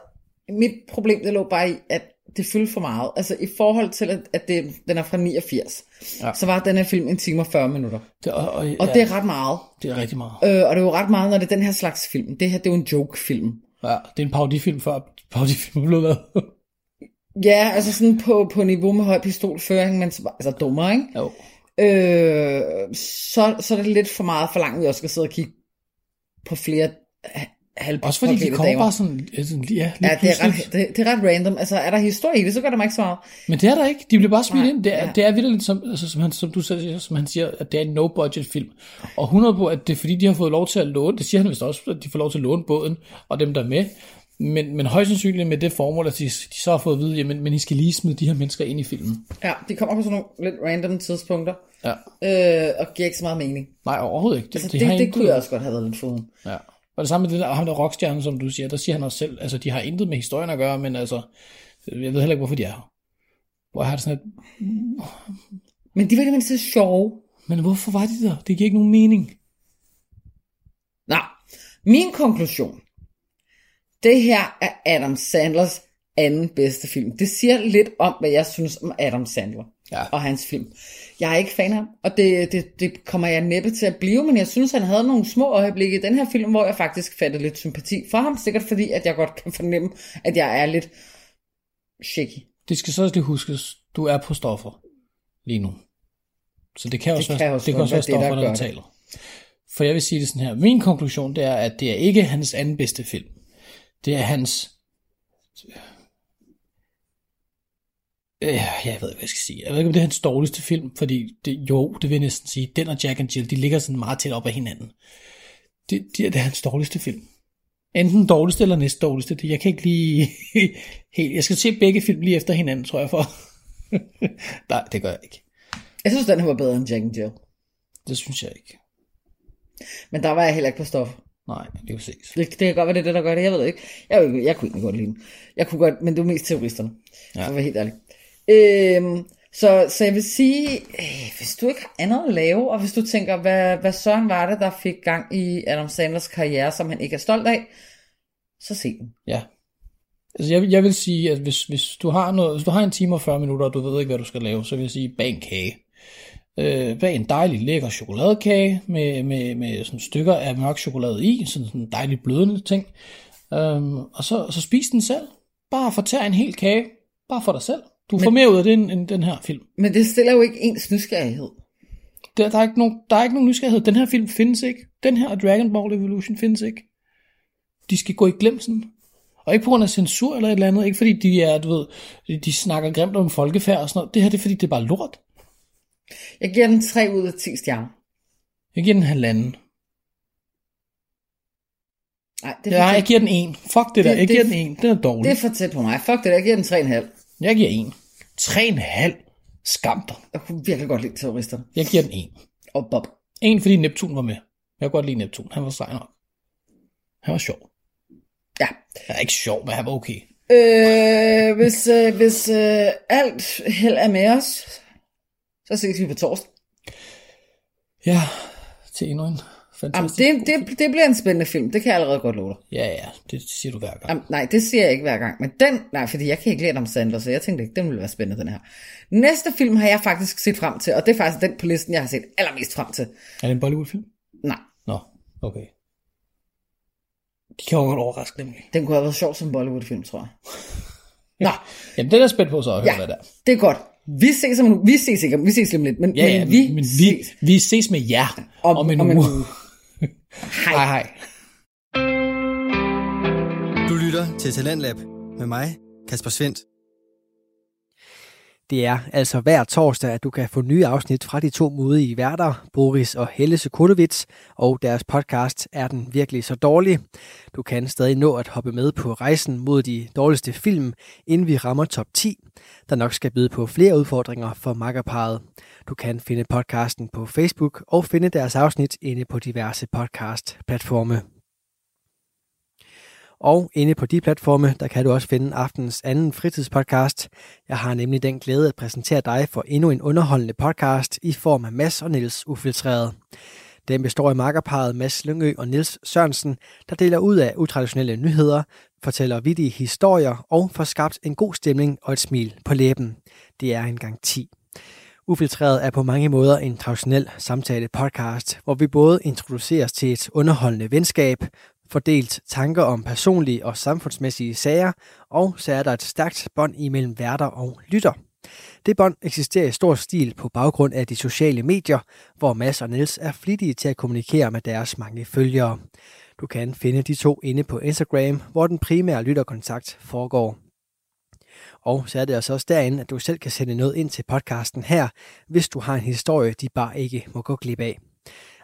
[SPEAKER 3] mit problem, det lå bare i, at det fyldte for meget. Altså, i forhold til, at, at det, den er fra 89, ja.
[SPEAKER 4] Ja.
[SPEAKER 3] så var den her film en time og 40 minutter.
[SPEAKER 4] Det, og, og,
[SPEAKER 3] Og ja.
[SPEAKER 4] ja,
[SPEAKER 3] det er ret meget.
[SPEAKER 4] det er rigtig meget.
[SPEAKER 3] Øh, og det er jo ret meget, når det er den her slags film. Det her, det er jo en joke-film.
[SPEAKER 4] Ja, det er en parodifilm før parodifilm blev lavet.
[SPEAKER 3] Ja, altså sådan på, på niveau med høj pistolføring, men så, bare- altså dummere, ikke?
[SPEAKER 4] jo.
[SPEAKER 3] Øh, så, så er det lidt for meget for langt, vi også skal sidde og kigge på flere ha- halv
[SPEAKER 4] Også fordi de
[SPEAKER 3] påklædte
[SPEAKER 4] kommer
[SPEAKER 3] damer.
[SPEAKER 4] bare sådan, øh, sådan ja, lige
[SPEAKER 3] Ja, det er,
[SPEAKER 4] pludselig.
[SPEAKER 3] ret, det, det er ret random. Altså, er der historie i det, så gør det mig ikke så meget.
[SPEAKER 4] Men det er der ikke. De bliver bare smidt
[SPEAKER 3] Nej,
[SPEAKER 4] ind. Det er,
[SPEAKER 3] ja.
[SPEAKER 4] ja. det er vildt, som, altså, som, han, som du selv siger, som han siger, at det er en no-budget film. Og 100 på, at det er fordi, de har fået lov til at låne, det siger han vist også, at de får lov til at låne båden, og dem der er med. Men, men højst sandsynligt med det formål, at de, de så har fået at vide, jamen, men I skal lige smide de her mennesker ind i filmen.
[SPEAKER 3] Ja, de kommer på sådan nogle lidt random tidspunkter,
[SPEAKER 4] Ja.
[SPEAKER 3] øh, og giver ikke så meget mening.
[SPEAKER 4] Nej, overhovedet ikke.
[SPEAKER 3] Altså, det,
[SPEAKER 4] det, har
[SPEAKER 3] det, det
[SPEAKER 4] intet-
[SPEAKER 3] kunne jeg også godt have været lidt foden.
[SPEAKER 4] Ja. Og det samme med det der, og ham der rockstjerne, som du siger, der siger han også selv, altså de har intet med historien at gøre, men altså, jeg ved heller ikke, hvorfor de er her. Hvor jeg har det sådan, at,
[SPEAKER 3] Men de var i det mindste sjove.
[SPEAKER 4] men hvorfor var de der? Det giver ikke nogen mening.
[SPEAKER 3] Nå, min konklusion. Det her er Adam Sandlers anden bedste film. Det siger lidt om, hvad jeg synes om Adam Sandler
[SPEAKER 4] Ja.
[SPEAKER 3] og hans film. Jeg er ikke fan af ham, og det, det, det kommer jeg næppe til at blive, men jeg synes, han havde nogle små øjeblikke i den her film, hvor jeg faktisk fattede lidt sympati for ham. Sikkert fordi, at jeg godt kan fornemme, at jeg er lidt shaky.
[SPEAKER 4] Det skal så også lige huskes, du er på stoffer lige nu. Så det kan også
[SPEAKER 3] kan
[SPEAKER 4] være,
[SPEAKER 3] også
[SPEAKER 4] det kan
[SPEAKER 3] godt
[SPEAKER 4] også være
[SPEAKER 3] være det, der
[SPEAKER 4] stoffer, der,
[SPEAKER 3] gør det.
[SPEAKER 4] taler. For jeg vil sige det sådan her. Min konklusion det er, at det er ikke hans anden bedste film. Det er hans... Øh, jeg ved ikke, hvad jeg skal sige. Jeg ved ikke, om det er hans dårligste film, fordi det, jo, det vil jeg næsten sige. Den og Jack and Jill, de ligger sådan meget tæt op ad hinanden. Det, det, er, det er hans dårligste film. Enten dårligste eller næst dårligste. Det- Jeg kan ikke lige *laughs* helt... Jeg skal se begge film lige efter hinanden, tror jeg, for... *laughs* Nej, det gør jeg ikke.
[SPEAKER 3] Jeg synes, den her var bedre end Jack and Jill.
[SPEAKER 4] Det synes jeg ikke.
[SPEAKER 3] Men der var jeg heller ikke på stof.
[SPEAKER 4] Nej, det er jo ses.
[SPEAKER 3] Det, det kan godt være, det er det, der gør det. Jeg ved det ikke. Jeg, er jo ikke- jeg kunne egentlig godt lide den. Jeg kunne godt, men det var mest terroristerne. Ja.
[SPEAKER 4] Ja.
[SPEAKER 3] For at være helt ærlig. Øhm, så, så jeg vil sige, øh, hvis du ikke har andet at lave, og hvis du tænker, hvad, hvad Søren var det, der fik gang i Adam Sanders karriere, som han ikke er stolt af, så se den.
[SPEAKER 4] Ja. Altså, jeg, jeg vil sige, at hvis, hvis, du har noget, hvis du har en time og 40 minutter, og du ved ikke, hvad du skal lave, så vil jeg sige, bag en kage. Øh, bag en dejlig, lækker chokoladekage med, med, med sådan stykker af mørk chokolade i, sådan sådan en dejlig blødende ting. Øhm, og så, så spis den selv. Bare fortær en hel kage. Bare for dig selv. Du får mere ud af det end, end den her film.
[SPEAKER 3] Men det stiller jo ikke ens nysgerrighed.
[SPEAKER 4] Der, der, er ikke nogen, der er ikke nogen nysgerrighed. Den her film findes ikke. Den her og Dragon Ball Evolution findes ikke. De skal gå i glemsen. Og ikke på grund af censur eller et eller andet. Ikke fordi de er, du ved, de- de snakker grimt om folkefærd og sådan noget. Det her det er fordi, det er bare lort.
[SPEAKER 3] Jeg giver den 3 ud af 10 stjerner.
[SPEAKER 4] Jeg giver den halvanden.
[SPEAKER 3] Nej, det
[SPEAKER 4] Ja,
[SPEAKER 3] for
[SPEAKER 4] jeg
[SPEAKER 3] tæt.
[SPEAKER 4] giver den en. Fuck det der.
[SPEAKER 3] Det- det-
[SPEAKER 4] Jeg giver den en. Den er
[SPEAKER 3] det
[SPEAKER 4] dårlig.
[SPEAKER 3] er for tæt på mig. Fuck det, der. jeg giver den 3,5.
[SPEAKER 4] Jeg giver en. Tre en halv. Skam dig.
[SPEAKER 3] Jeg kunne virkelig godt lide terroristerne.
[SPEAKER 4] Jeg giver den en.
[SPEAKER 3] Og Bob.
[SPEAKER 4] En, fordi Neptun var med. Jeg kan godt lide Neptun. Han var sej nok. Han var sjov.
[SPEAKER 3] Ja.
[SPEAKER 4] Han er ikke sjov, men han var okay.
[SPEAKER 3] Øh, hvis øh, hvis øh, alt held er med os, så ses vi på torsdag.
[SPEAKER 4] Ja, til endnu en
[SPEAKER 3] Jamen,
[SPEAKER 4] fantastisk...
[SPEAKER 3] det, det, det bliver en spændende film. Det kan jeg allerede godt love dig.
[SPEAKER 4] Ja, ja, det siger du hver gang.
[SPEAKER 3] Jamen, nej, det siger jeg ikke hver gang. Men den, nej, fordi jeg kan ikke lide om Sandler, så jeg tænkte ikke, den ville være spændende, den her. Næste film har jeg faktisk set frem til, og det er faktisk den på listen, jeg har set allermest frem til.
[SPEAKER 4] Er det en Bollywood-film?
[SPEAKER 3] Nej,
[SPEAKER 4] Nå, okay. De kan jo godt overraske nemlig.
[SPEAKER 3] den kunne have været sjov som Bollywood-film, tror jeg. Nå,
[SPEAKER 4] Jamen, den er jeg spændt på så at høre,
[SPEAKER 3] Ja.
[SPEAKER 4] hvad der.
[SPEAKER 3] det er godt. Vi ses om nu. Vi ses ikke om, vi ses lige om lidt, men,
[SPEAKER 4] Ja, ja,
[SPEAKER 3] men vi,
[SPEAKER 4] men vi,
[SPEAKER 3] ses
[SPEAKER 4] vi ses med jer om, om en uge. *laughs*
[SPEAKER 3] Hej.
[SPEAKER 4] Hej, hej.
[SPEAKER 1] Du lytter til Talentlab med mig, Kasper Svendt.
[SPEAKER 2] Det er altså hver torsdag, at du kan få nye afsnit fra de to modige værter, Boris og Helle Sekulovits, og deres podcast Er den virkelig så dårlig? Du kan stadig nå at hoppe med på rejsen mod de dårligste film, inden vi rammer top 10, der nok skal byde på flere udfordringer for makkerparet. Du kan finde podcasten på Facebook og finde deres afsnit inde på diverse podcast-platforme. Og inde på de platforme, der kan du også finde aftens anden fritidspodcast. Jeg har nemlig den glæde at præsentere dig for endnu en underholdende podcast i form af Mads og Niels Ufiltreret. Den består af makkerparet Mads Lyngø og Niels Sørensen, der deler ud af utraditionelle nyheder, fortæller vittige historier og får skabt en god stemning og et smil på læben. Det er en gang 10. Ufiltreret er på mange måder en traditionel samtale-podcast, hvor vi både introduceres til et underholdende venskab, fordelt tanker om personlige og samfundsmæssige sager, og så er der et stærkt bånd imellem værter og lytter. Det bånd eksisterer i stor stil på baggrund af de sociale medier, hvor Mads og Niels er flittige til at kommunikere med deres mange følgere. Du kan finde de to inde på Instagram, hvor den primære lytterkontakt foregår. Og så er det altså også derinde, at du selv kan sende noget ind til podcasten her, hvis du har en historie, de bare ikke må gå glip af.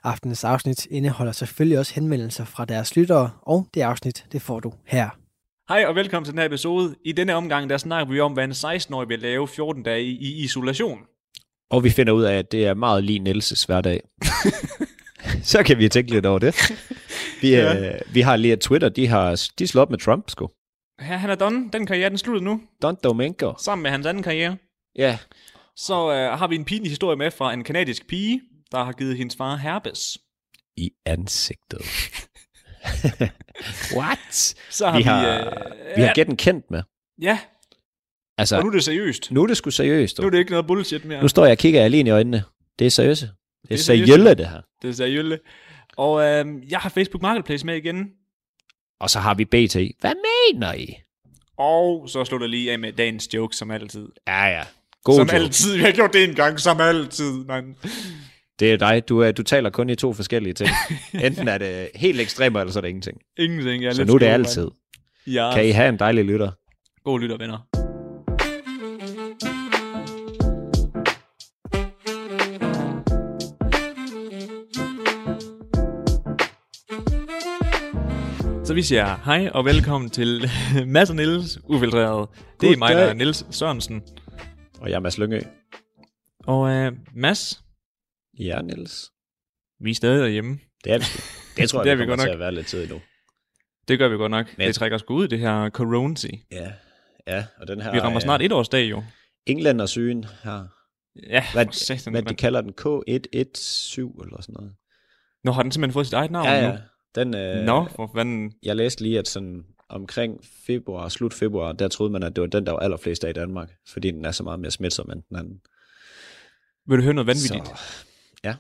[SPEAKER 2] Aftenens afsnit indeholder selvfølgelig også henvendelser fra deres lyttere, og det afsnit, det får du her.
[SPEAKER 5] Hej og velkommen til den her episode. I denne omgang, der snakker vi om, hvad en 16-årig vil lave 14 dage i- i isolation.
[SPEAKER 6] Og vi finder ud af, at det er meget lige
[SPEAKER 5] *laughs*
[SPEAKER 6] Nielses hverdag. så kan vi tænke lidt over det. Vi, ja.
[SPEAKER 5] Ja.
[SPEAKER 6] øh, vi har lige at Twitter, de har de slår op med Trump, sgu.
[SPEAKER 5] Her, han er done. Den karriere, den slutter nu,
[SPEAKER 6] Don Domenko.
[SPEAKER 5] sammen med hans anden karriere.
[SPEAKER 6] Ja,
[SPEAKER 5] Så øh, har vi en pinlig historie med fra en kanadisk pige, der har givet hendes far herpes.
[SPEAKER 6] i
[SPEAKER 5] *laughs*
[SPEAKER 6] ansigtet. What?
[SPEAKER 5] Så har
[SPEAKER 6] vi
[SPEAKER 5] vi...
[SPEAKER 6] har,
[SPEAKER 5] øh,
[SPEAKER 6] vi har
[SPEAKER 5] ja,
[SPEAKER 6] gætten kendt med.
[SPEAKER 5] ja,
[SPEAKER 6] Altså,
[SPEAKER 5] og nu er det seriøst.
[SPEAKER 6] nu er det sgu seriøst.
[SPEAKER 5] Nu er
[SPEAKER 6] Nu,
[SPEAKER 5] det ikke noget bullshit mere.
[SPEAKER 6] nu står jeg og kigger alene i øjnene. Det er seriøst. Det er
[SPEAKER 5] er
[SPEAKER 6] seriøst,
[SPEAKER 5] seriøse.
[SPEAKER 6] det her.
[SPEAKER 5] Det er seriøst. Og øh, jeg har Facebook Marketplace med igen.
[SPEAKER 6] Og så har vi BT. Hvad mener I?
[SPEAKER 5] Og så slutter jeg lige af med dagens joke, som altid.
[SPEAKER 6] Ja, ja. God
[SPEAKER 5] som
[SPEAKER 6] joke.
[SPEAKER 5] altid. Vi har gjort det en gang, som altid. Man.
[SPEAKER 6] Det er dig. Du, er, du taler kun i to forskellige
[SPEAKER 5] *laughs*
[SPEAKER 6] ting. Enten er det helt ekstremer, eller så er det ingenting.
[SPEAKER 5] Ingenting. Jeg er
[SPEAKER 6] Så
[SPEAKER 5] lidt
[SPEAKER 6] nu er det
[SPEAKER 5] skæv,
[SPEAKER 6] altid.
[SPEAKER 5] mand. Ja.
[SPEAKER 6] Kan I have en dejlig lytter?
[SPEAKER 5] God lytter, venner. Så vi siger hej og velkommen til *laughs* Mads og Niels Ufiltreret. Det er mig, der er
[SPEAKER 6] Goddag.
[SPEAKER 5] Niels Sørensen.
[SPEAKER 6] Og jeg er Mads Lyngø.
[SPEAKER 5] Og uh, Mads,
[SPEAKER 6] Ja, Niels.
[SPEAKER 5] vi er stadig derhjemme.
[SPEAKER 6] Det
[SPEAKER 5] *laughs*
[SPEAKER 6] er vi. sgu. Det tror jeg,
[SPEAKER 5] Det er
[SPEAKER 6] vi
[SPEAKER 5] vi
[SPEAKER 6] kommer
[SPEAKER 5] godt
[SPEAKER 6] til
[SPEAKER 5] nok.
[SPEAKER 6] at være lidt tid endnu.
[SPEAKER 5] Det gør vi godt nok.
[SPEAKER 6] Men-
[SPEAKER 5] Det trækker sgu ud, det her corona.
[SPEAKER 6] Ja. Ja, og den her... øh,
[SPEAKER 5] Vi rammer snart et års dag jo.
[SPEAKER 6] England og sygen her.
[SPEAKER 5] Ja,
[SPEAKER 6] Hvad,
[SPEAKER 5] for satan,
[SPEAKER 6] hvad de
[SPEAKER 5] mand.
[SPEAKER 6] kalder den? K117 eller sådan noget.
[SPEAKER 5] Nå, har den simpelthen fået sit eget navn
[SPEAKER 6] Ja,
[SPEAKER 5] nu?
[SPEAKER 6] ja. Den, øh,
[SPEAKER 5] Nå, for fanden.
[SPEAKER 6] Jeg læste lige, at sådan omkring februar, slut februar, der troede man, at det var den, der var allerflest af i Danmark, fordi den er så meget mere smitsom end den anden.
[SPEAKER 5] Vil du høre noget vanvittigt?
[SPEAKER 6] Så,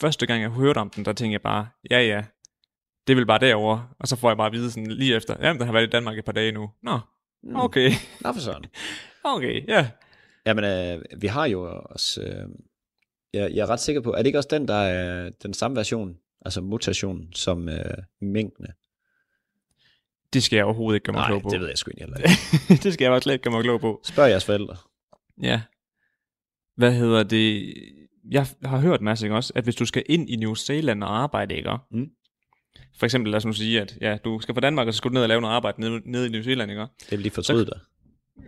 [SPEAKER 5] første gang, jeg hørte om den, der tænkte jeg bare, ja ja, det vil bare derovre. Og så får jeg bare at vide sådan lige efter, jamen, den har været i Danmark et par dage nu. Nå,
[SPEAKER 6] Mm.
[SPEAKER 5] okay,
[SPEAKER 6] nå for sådan.
[SPEAKER 5] okay, ja.
[SPEAKER 6] Jamen, øh, vi har jo også... Øh, Jeg, jeg er ret sikker på, er det ikke også den, der er den samme version, altså mutation, som øh, mængdene?
[SPEAKER 5] Det skal jeg overhovedet ikke gøre mig
[SPEAKER 6] Nej,
[SPEAKER 5] klog på. *laughs*
[SPEAKER 6] det ved jeg sgu egentlig
[SPEAKER 5] ikke. det skal jeg bare slet ikke gøre mig klog på.
[SPEAKER 6] Spørg jeres forældre.
[SPEAKER 5] Ja. Hvad hedder det? Jeg har hørt, Mads, ikke også, at hvis du skal ind i New Zealand og arbejde, ikke? også?
[SPEAKER 6] Mm.
[SPEAKER 5] For eksempel, lad os nu sige, at ja, du skal fra Danmark, og så skal du ned og lave noget arbejde nede, nede i New Zealand, ikke? også?
[SPEAKER 6] Det vil de fortryde dig.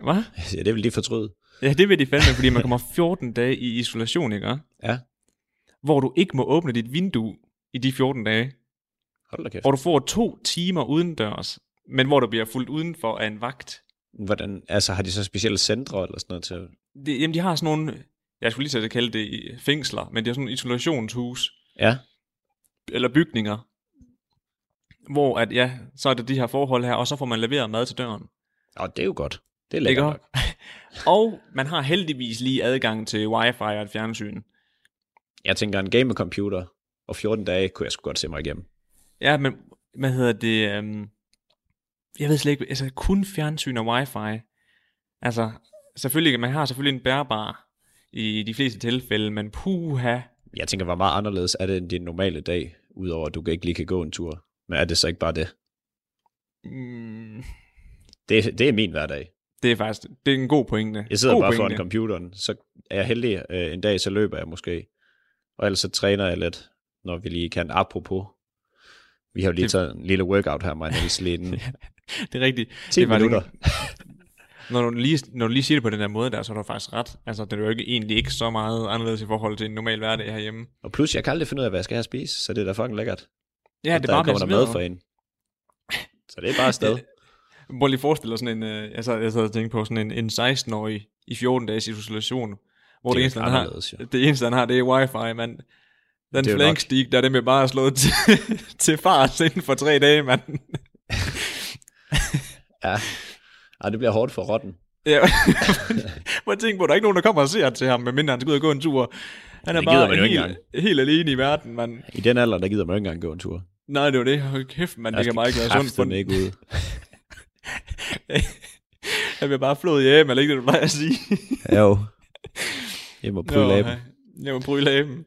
[SPEAKER 5] Hvad?
[SPEAKER 6] *laughs* Ja, det vil de fortryde.
[SPEAKER 5] Ja, det vil de fandme, fordi man kommer 14 dage i isolation, ikke? også?
[SPEAKER 6] Ja.
[SPEAKER 5] Hvor du ikke må åbne dit vindue i de 14 dage.
[SPEAKER 6] Hold da kæft.
[SPEAKER 5] Hvor du får to timer udendørs, men hvor du bliver fuldt udenfor af en vagt.
[SPEAKER 6] Hvordan, altså har de så specielle centre eller sådan noget til?
[SPEAKER 5] Det, jamen, de har sådan nogle, jeg skulle lige til at kalde det i- fængsler, men det er sådan nogle isolationshus,
[SPEAKER 6] Ja.
[SPEAKER 5] eller bygninger, hvor at, ja, så er det de her forhold her, og så får man leveret mad til døren.
[SPEAKER 6] Og det er jo godt. Det er lækkert nok.
[SPEAKER 5] *laughs* og man har heldigvis lige adgang til wifi og et fjernsyn.
[SPEAKER 6] Jeg tænker, en gamecomputer og 14 dage kunne jeg sgu godt se mig igennem.
[SPEAKER 5] Ja, men hvad hedder det? Øhm, jeg ved slet ikke, altså kun fjernsyn og wifi. Altså, selvfølgelig, man har selvfølgelig en bærbar i de fleste tilfælde, men puha.
[SPEAKER 6] Jeg tænker, hvor meget anderledes er det end din normale dag, udover at du ikke lige kan gå en tur. Men er det så ikke bare det?
[SPEAKER 5] Mm,
[SPEAKER 6] Det, det er min hverdag.
[SPEAKER 5] det er faktisk, det er en god pointe.
[SPEAKER 6] Jeg sidder
[SPEAKER 5] god
[SPEAKER 6] bare
[SPEAKER 5] pointe.
[SPEAKER 6] foran computeren, så er jeg heldig øh, en dag, så løber jeg måske. Og ellers så træner jeg lidt, når vi lige kan. Apropos, vi har jo lige
[SPEAKER 5] Det-
[SPEAKER 6] taget en lille workout her, mig
[SPEAKER 5] *laughs*
[SPEAKER 6] Niels, lige inden.
[SPEAKER 5] Det er rigtigt.
[SPEAKER 6] 10
[SPEAKER 5] det var
[SPEAKER 6] minutter.
[SPEAKER 5] når, du lige, når du lige siger det på den der måde der, så er du faktisk ret. Altså, det er jo ikke, egentlig ikke så meget anderledes i forhold til en normal hverdag herhjemme.
[SPEAKER 6] Og plus, jeg kan aldrig finde ud af, hvad jeg skal have at spise, så det er da fucking lækkert.
[SPEAKER 5] Ja,
[SPEAKER 6] At
[SPEAKER 5] det er
[SPEAKER 6] der
[SPEAKER 5] bare
[SPEAKER 6] kommer der mad
[SPEAKER 5] serveret.
[SPEAKER 6] for en. Så det er bare
[SPEAKER 5] *laughs*
[SPEAKER 6] afsted.
[SPEAKER 5] Prøv lige at forestille dig sådan en, øh, jeg sad, jeg sad og tænkte på sådan en, en 16-årig i 14 dages isolation, hvor det,
[SPEAKER 6] Det er
[SPEAKER 5] det, eneste,
[SPEAKER 6] jo
[SPEAKER 5] han har,
[SPEAKER 6] anderledes, jo.
[SPEAKER 5] det eneste, han har, det er wifi, mand. Den
[SPEAKER 6] Det er jo nok-
[SPEAKER 5] flankstik, der er det med bare at slå til, *laughs* til fars inden for tre dage, mand.
[SPEAKER 6] Ja. Ej, det bliver hårdt for rotten.
[SPEAKER 5] Ja. *laughs* Prøv at tænke på, der er ikke nogen, der kommer og ser til ham, medmindre han skal ud og gå en tur. Han er
[SPEAKER 6] Det gider
[SPEAKER 5] bare
[SPEAKER 6] man jo ikke
[SPEAKER 5] helt, helt alene i verden, mand.
[SPEAKER 6] I den alder, der gider man jo ikke engang gå en tur.
[SPEAKER 5] Nej, det var det. Hold kæft, mand.
[SPEAKER 6] Jeg
[SPEAKER 5] Det kan
[SPEAKER 6] skal
[SPEAKER 5] bare ikke være sundt for
[SPEAKER 6] kraftedeme ikke
[SPEAKER 5] *laughs*
[SPEAKER 6] ud.
[SPEAKER 5] Jeg bliver bare flået hjem, eller ikke det, du plejer at sige.
[SPEAKER 6] Jo. Jeg må prøve
[SPEAKER 5] Nå,
[SPEAKER 6] at
[SPEAKER 5] hej. Jeg må bryde læben.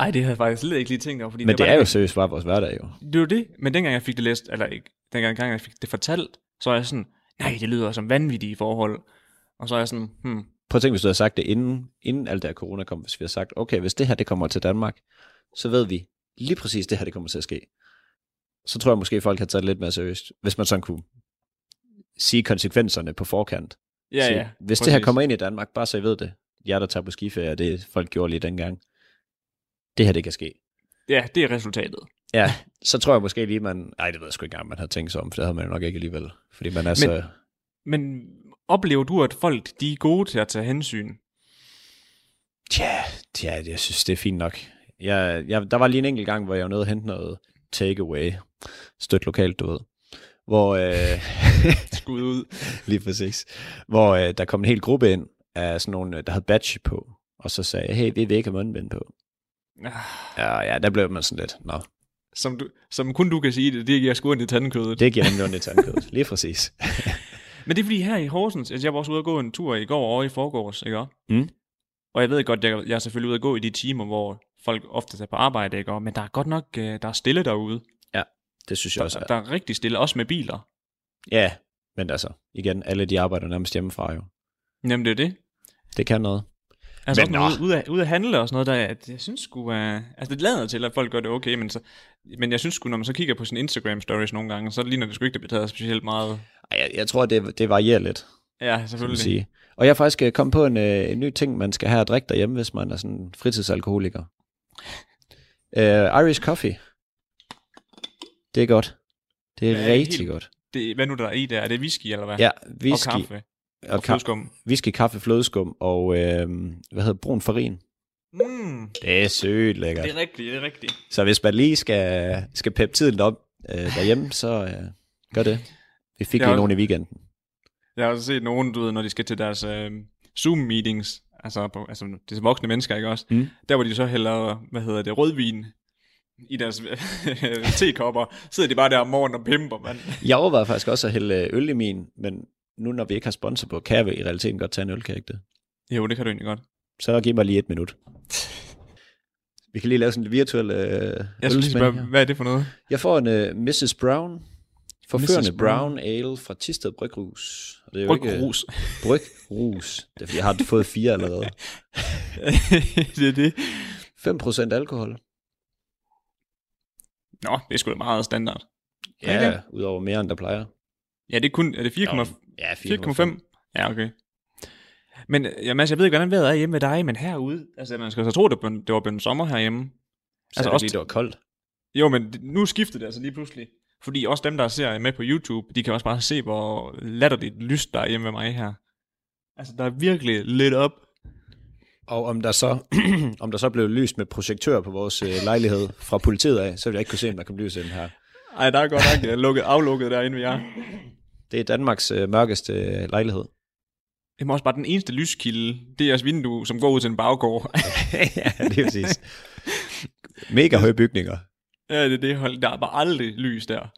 [SPEAKER 5] Ej, det havde jeg faktisk slet ikke lige tænkt over. Fordi
[SPEAKER 6] Men det
[SPEAKER 5] var
[SPEAKER 6] er jo
[SPEAKER 5] dengang-
[SPEAKER 6] seriøst bare vores hverdag, jo.
[SPEAKER 5] Det er jo det. Men dengang jeg fik det læst, eller ikke, dengang dengang jeg fik det fortalt, så er jeg sådan, nej, det lyder som vanvittige forhold. Og så er jeg sådan, hmm,
[SPEAKER 6] Prøv at tænke, hvis du havde sagt det inden, inden alt det her corona kom, hvis vi havde sagt, okay, hvis det her det kommer til Danmark, så ved vi lige præcis, det her det kommer til at ske. Så tror jeg måske, folk har taget det lidt mere seriøst, hvis man sådan kunne sige konsekvenserne på forkant.
[SPEAKER 5] ja,
[SPEAKER 6] sige,
[SPEAKER 5] ja.
[SPEAKER 6] hvis det her kommer ind i Danmark, bare så I ved det. Jeg, der tager på skiferie, og det folk gjorde lige dengang. Det her, det kan ske.
[SPEAKER 5] Ja, det er resultatet.
[SPEAKER 6] Ja, så tror jeg måske lige, man... Nej, det ved jeg sgu ikke engang, man havde tænkt sig om, for det havde man jo nok ikke alligevel. Fordi man er så...
[SPEAKER 5] Men oplever du, at folk de er gode til at tage hensyn?
[SPEAKER 6] Tja, tja, jeg synes, det er fint nok. Jeg, jeg, der var lige en enkelt gang, hvor jeg var nede og hente noget takeaway. Støt lokalt, du ved. Hvor... Øh, *laughs*
[SPEAKER 5] Skud ud.
[SPEAKER 6] lige præcis. Hvor øh, der kom en hel gruppe ind af sådan nogle, øh, der havde badge på. Og så sagde jeg, hey, vi vil ikke have mundbind på.
[SPEAKER 5] Ah,
[SPEAKER 6] Ja, ja, der blev man sådan lidt, nå,
[SPEAKER 5] Som, du, som kun du kan sige det, det giver sgu ind i tandkødet.
[SPEAKER 6] det giver nemlig ondt i *laughs* tandkødet. Lige præcis.
[SPEAKER 5] Men det er fordi her i Horsens, altså jeg var også ude og gå en tur i går og i forgårs, ikke også?
[SPEAKER 6] Mm.
[SPEAKER 5] Og jeg ved godt, jeg, jeg er selvfølgelig ude at gå i de timer, hvor folk ofte er på arbejde, ikke også? Men der er godt nok, øh, der er stille derude.
[SPEAKER 6] Det synes jeg
[SPEAKER 5] Der,
[SPEAKER 6] også.
[SPEAKER 5] der er rigtig stille, også med biler.
[SPEAKER 6] Ja, men altså, igen, alle de arbejder nærmest hjemmefra jo.
[SPEAKER 5] Jamen det er det.
[SPEAKER 6] Det kan noget.
[SPEAKER 5] Altså
[SPEAKER 6] Men
[SPEAKER 5] men, også ude, ude, at, ude at handle og sådan noget, der, at jeg synes sgu, uh, altså det lader til, at folk gør det okay, men, så, men jeg synes sgu, når man så kigger på sin Instagram stories nogle gange, så ligner det sgu ikke, det bliver taget specielt meget.
[SPEAKER 6] Ej, Jeg, jeg tror, det, det varierer lidt,
[SPEAKER 5] Ja,
[SPEAKER 6] kan man
[SPEAKER 5] selvfølgelig.
[SPEAKER 6] sige. Og jeg er faktisk øh, kommet på en, øh, en ny ting, man skal have at drikke derhjemme, hvis man er sådan en fritidsalkoholiker. Uh, Irish coffee. Det er godt. Det er
[SPEAKER 5] Ja,
[SPEAKER 6] ja, rigtig
[SPEAKER 5] helt-
[SPEAKER 6] godt.
[SPEAKER 5] Det, hvad nu der er i der? Er det whisky eller hvad?
[SPEAKER 6] Ja, whisky,
[SPEAKER 5] Og kaffe.
[SPEAKER 6] og
[SPEAKER 5] Og
[SPEAKER 6] ka-
[SPEAKER 5] flødeskum.
[SPEAKER 6] whisky, kaffe, flødeskum og øh, hvad hedder brun farin.
[SPEAKER 5] Mm,
[SPEAKER 6] Det er sødt lækkert.
[SPEAKER 5] det er rigtigt, det er rigtigt.
[SPEAKER 6] Så hvis man lige skal, skal peppe tiden op øh, derhjemme, så øh, gør det. Vi fik
[SPEAKER 5] Jeg
[SPEAKER 6] lige
[SPEAKER 5] har-
[SPEAKER 6] nogen i weekenden.
[SPEAKER 5] Jeg har også set nogen, du ved, når de skal til deres øh, Zoom-meetings, altså, på, altså det er voksne mennesker, ikke også?
[SPEAKER 6] Mm.
[SPEAKER 5] Der, hvor de så hælder, hvad hedder det, rødvin i deres *laughs* tekopper, sidder de bare der om morgenen og pimper, mand.
[SPEAKER 6] Jeg overvejede faktisk også at hælde øh, øl i min, men nu når vi ikke har sponsor på, kan jeg vel i realiteten godt tage en øl, kan jeg ikke det?
[SPEAKER 5] Jo, det kan du egentlig godt.
[SPEAKER 6] Så giv mig lige et minut. Vi kan lige lave sådan en virtuel øh,
[SPEAKER 5] Jeg skulle lige spørge,
[SPEAKER 6] ølsmag her.
[SPEAKER 5] hvad er det for noget? *laughs*
[SPEAKER 6] Jeg får en øh, Mrs. Brown. Forførende
[SPEAKER 5] Mrs. Brown.
[SPEAKER 6] Brown Ale fra Tisted Brygrus. Og det er *laughs*
[SPEAKER 5] Brygrus.
[SPEAKER 6] Brygrus. Det er, fordi jeg har fået fire allerede.
[SPEAKER 5] det er det.
[SPEAKER 6] 5% alkohol.
[SPEAKER 5] Nå, det er sgu da meget standard.
[SPEAKER 6] Ja,
[SPEAKER 5] Ikke?
[SPEAKER 6] udover mere end der plejer.
[SPEAKER 5] Ja, det er kun... Er det 4,5?
[SPEAKER 6] Ja,
[SPEAKER 5] 4,5. Ja, okay. Men ja, Mads, jeg ved ikke, hvordan vejret er hjemme ved dig, men herude... Altså, man skal så tro, det, blev, det var blevet sommer herhjemme.
[SPEAKER 6] Så altså, også... fordi det var koldt.
[SPEAKER 5] Jo, men det- nu skiftede det altså lige pludselig. Fordi også dem, der ser med på YouTube, de kan også bare se, hvor latterligt lyst der er hjemme ved mig her. Altså, der er virkelig lidt op.
[SPEAKER 6] Og om der så, om der så *clears throat* blev lyst med projektør på vores øh, lejlighed fra politiet af, så ville jeg ikke kunne se, om der kom lys ind her.
[SPEAKER 5] Ej, der er godt nok øh, lukket, aflukket derinde ved jer.
[SPEAKER 6] Det er Danmarks øh, mørkeste øh, lejlighed.
[SPEAKER 5] Det er også bare den eneste lyskilde. Det er jeres vindue, som går ud til en baggård. *laughs*
[SPEAKER 6] *laughs* ja, det er præcis. Mega høje bygninger.
[SPEAKER 5] Ja, det er det hold. Der er bare aldrig lys der.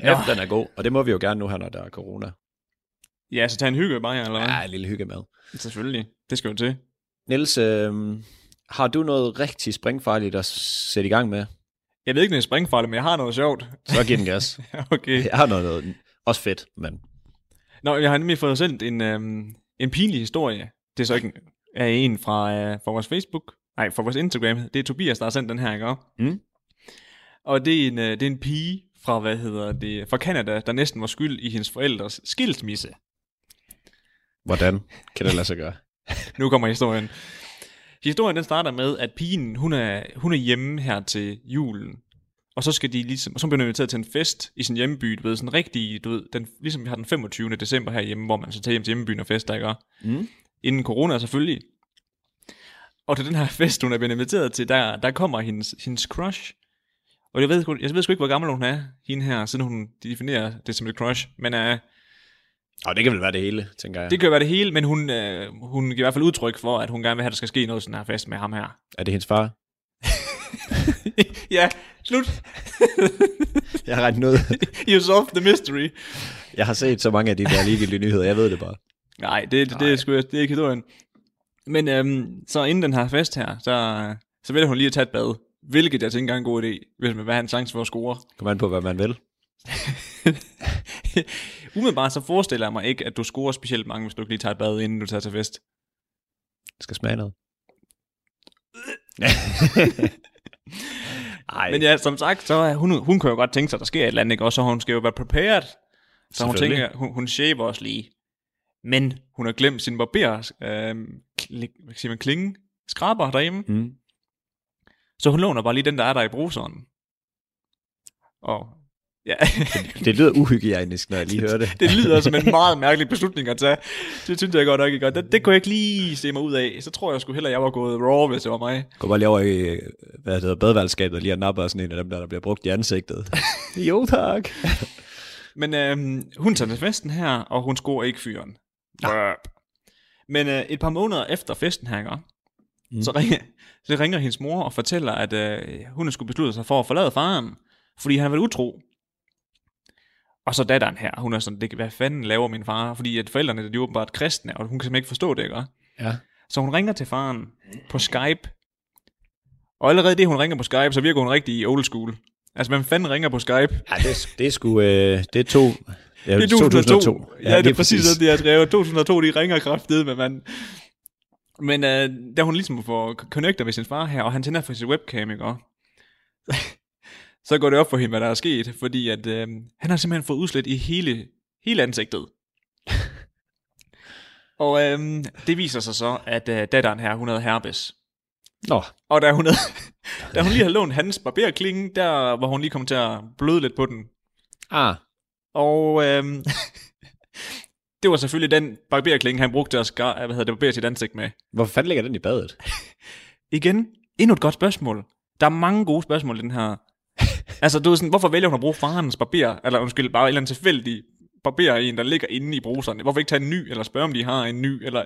[SPEAKER 6] Ja, den er god, og det må vi jo gerne nu her, når der er corona.
[SPEAKER 5] Ja, så tag en hygge bare, eller hvad?
[SPEAKER 6] Ja, en lille hyggemad.
[SPEAKER 5] Selvfølgelig. Det skal jo til.
[SPEAKER 6] Niels, øh, har du noget rigtig springfarligt at sætte i gang med?
[SPEAKER 5] Jeg ved ikke, om det er springfarligt, men jeg har noget sjovt. *laughs*
[SPEAKER 6] Så giv den gas.
[SPEAKER 5] okay.
[SPEAKER 6] *laughs* Jeg har noget, noget også fedt, men
[SPEAKER 5] Nå, jeg har nemlig fået sendt en, øhm, en pinlig historie. Det er så ikke en, er en fra, øh, fra vores Facebook. Nej, fra vores Instagram. Det er Tobias, der har sendt den her, ikke også?
[SPEAKER 6] Mm.
[SPEAKER 5] Og det er, en, øh, det er en pige fra, hvad hedder det, fra Canada, der næsten var skyld i hendes forældres skilsmisse.
[SPEAKER 6] hvordan kan det lade sig gøre?
[SPEAKER 5] *laughs* nu kommer historien. Historien den starter med, at pigen, hun er, hun er hjemme her til julen. Og så skal de ligesom, og så bliver hun inviteret til en fest i sin hjemby, du ved, sådan rigtig, du ved, den, ligesom vi har den 25. december herhjemme, hvor man så tager hjem til hjembyen og fester, ikke?
[SPEAKER 6] Mm.
[SPEAKER 5] Inden corona selvfølgelig. Og til den her fest, hun er blevet inviteret til, der, der kommer hendes, hendes crush. Og jeg ved, sgu- jeg ved sgu ikke, hvor gammel hun er, hende her, siden hun definerer det som et crush. Men øh,
[SPEAKER 6] Og det kan vel være det hele, tænker jeg.
[SPEAKER 5] det kan jo være det hele, men hun, øh, hun giver i hvert fald udtryk for, at hun gerne vil have, at der skal ske noget sådan her fest med ham her.
[SPEAKER 6] Er det hendes far?
[SPEAKER 5] *laughs* ja, slut. *laughs*
[SPEAKER 6] Jeg har regnet noget.
[SPEAKER 5] you solved the mystery.
[SPEAKER 6] Jeg har set så mange af de der ligegyldige nyheder, jeg ved det bare.
[SPEAKER 5] Nej, det, det, det, er, sgu, det er ikke historien. Men øhm, så inden den her fest her, så, så vælger hun lige at tage et bad. Hvilket jeg tænker er en god idé, hvis man vil have en chance for at *laughs* score.
[SPEAKER 6] Kom an på, hvad man vil.
[SPEAKER 5] Umiddelbart så forestiller jeg mig ikke, at du scorer specielt mange, hvis du ikke lige tager et bad, inden du tager til fest.
[SPEAKER 6] Det skal smage *laughs* noget. Ej.
[SPEAKER 5] Men ja, som sagt, så er hun, hun kan jo godt tænke sig, at der sker et eller andet, ikke? Og så hun skal jo være prepared. Så hun
[SPEAKER 6] Selvfølgelig.
[SPEAKER 5] tænker, hun, hun shaver os lige. Men hun har glemt sin barber, øh, kli- hvad siger man, klinge, skraber derhjemme.
[SPEAKER 6] Mm.
[SPEAKER 5] Så hun låner bare lige den, der er der i bruseren. Og ja, *laughs*
[SPEAKER 6] Det lyder uhygiejnisk, når jeg lige hører *laughs* det.
[SPEAKER 5] det lyder som en meget mærkelig beslutning at tage. Det synes jeg godt nok ikke godt. Det, det kunne jeg ikke lige se mig ud af. Så tror jeg sgu hellere, jeg var gået raw, hvis det var mig.
[SPEAKER 6] Gå bare lige over i øh, hvad det hedder, badeværelseskabet og lige og napper sådan en af dem, der, der bliver brugt i *laughs* ansigtet. jo tak.
[SPEAKER 5] Men øhm, hun tager til festen her, og hun scorer ikke fyren. Nej. Men øh, et par måneder efter festen her, ikke? Mm. Så, ringer, så ringer hendes mor og fortæller, at øh, hun skulle beslutte sig for at forlade faren, fordi han var utro. Og så datteren her, hun er sådan, det, hvad fanden laver min far? Fordi at forældrene de er åbenbart kristne, og hun kan simpelthen ikke forstå det, ikke?
[SPEAKER 6] Ja.
[SPEAKER 5] Så hun ringer til faren på Skype. Og allerede det, hun ringer på Skype, så virker hun rigtig old school. Altså, hvem fanden ringer på Skype?
[SPEAKER 6] Ja, det, er- det er sgu, øh, det er to, ja,
[SPEAKER 5] det er 2002. 2002. Ja, det er
[SPEAKER 6] lige
[SPEAKER 5] præcis det, de har skrevet. 2002, de ringer kraftedet med manden. Men øh, da hun ligesom får connecter med sin far her, og han tænder for sin webcam, ikke? også? *laughs* så går det op for hende, hvad der er sket, fordi at, øh, han har simpelthen fået udslet i hele, hele *laughs* ansigtet. og øh, det viser sig så, at øh, datteren her, hun havde herpes.
[SPEAKER 6] Nå,
[SPEAKER 5] Og da hun, *laughs* havde, da hun lige havde lånt hans barberklinge, der var hun lige kommet til at bløde lidt på den.
[SPEAKER 6] ah,
[SPEAKER 5] Og øhm, det var selvfølgelig den barberklinge, han brugte til at skar, hvad hedder det, barbere sit ansigt med.
[SPEAKER 6] hvorfor fanden ligger den i badet?
[SPEAKER 5] Igen, endnu et godt spørgsmål. Der er mange gode spørgsmål i den her. altså, du ved sådan, hvorfor vælger hun at bruge farens barber, eller undskyld, bare en eller anden tilfældig barber en, der ligger inde i bruserne? Hvorfor ikke tage en ny, eller spørge, om de har en ny, eller...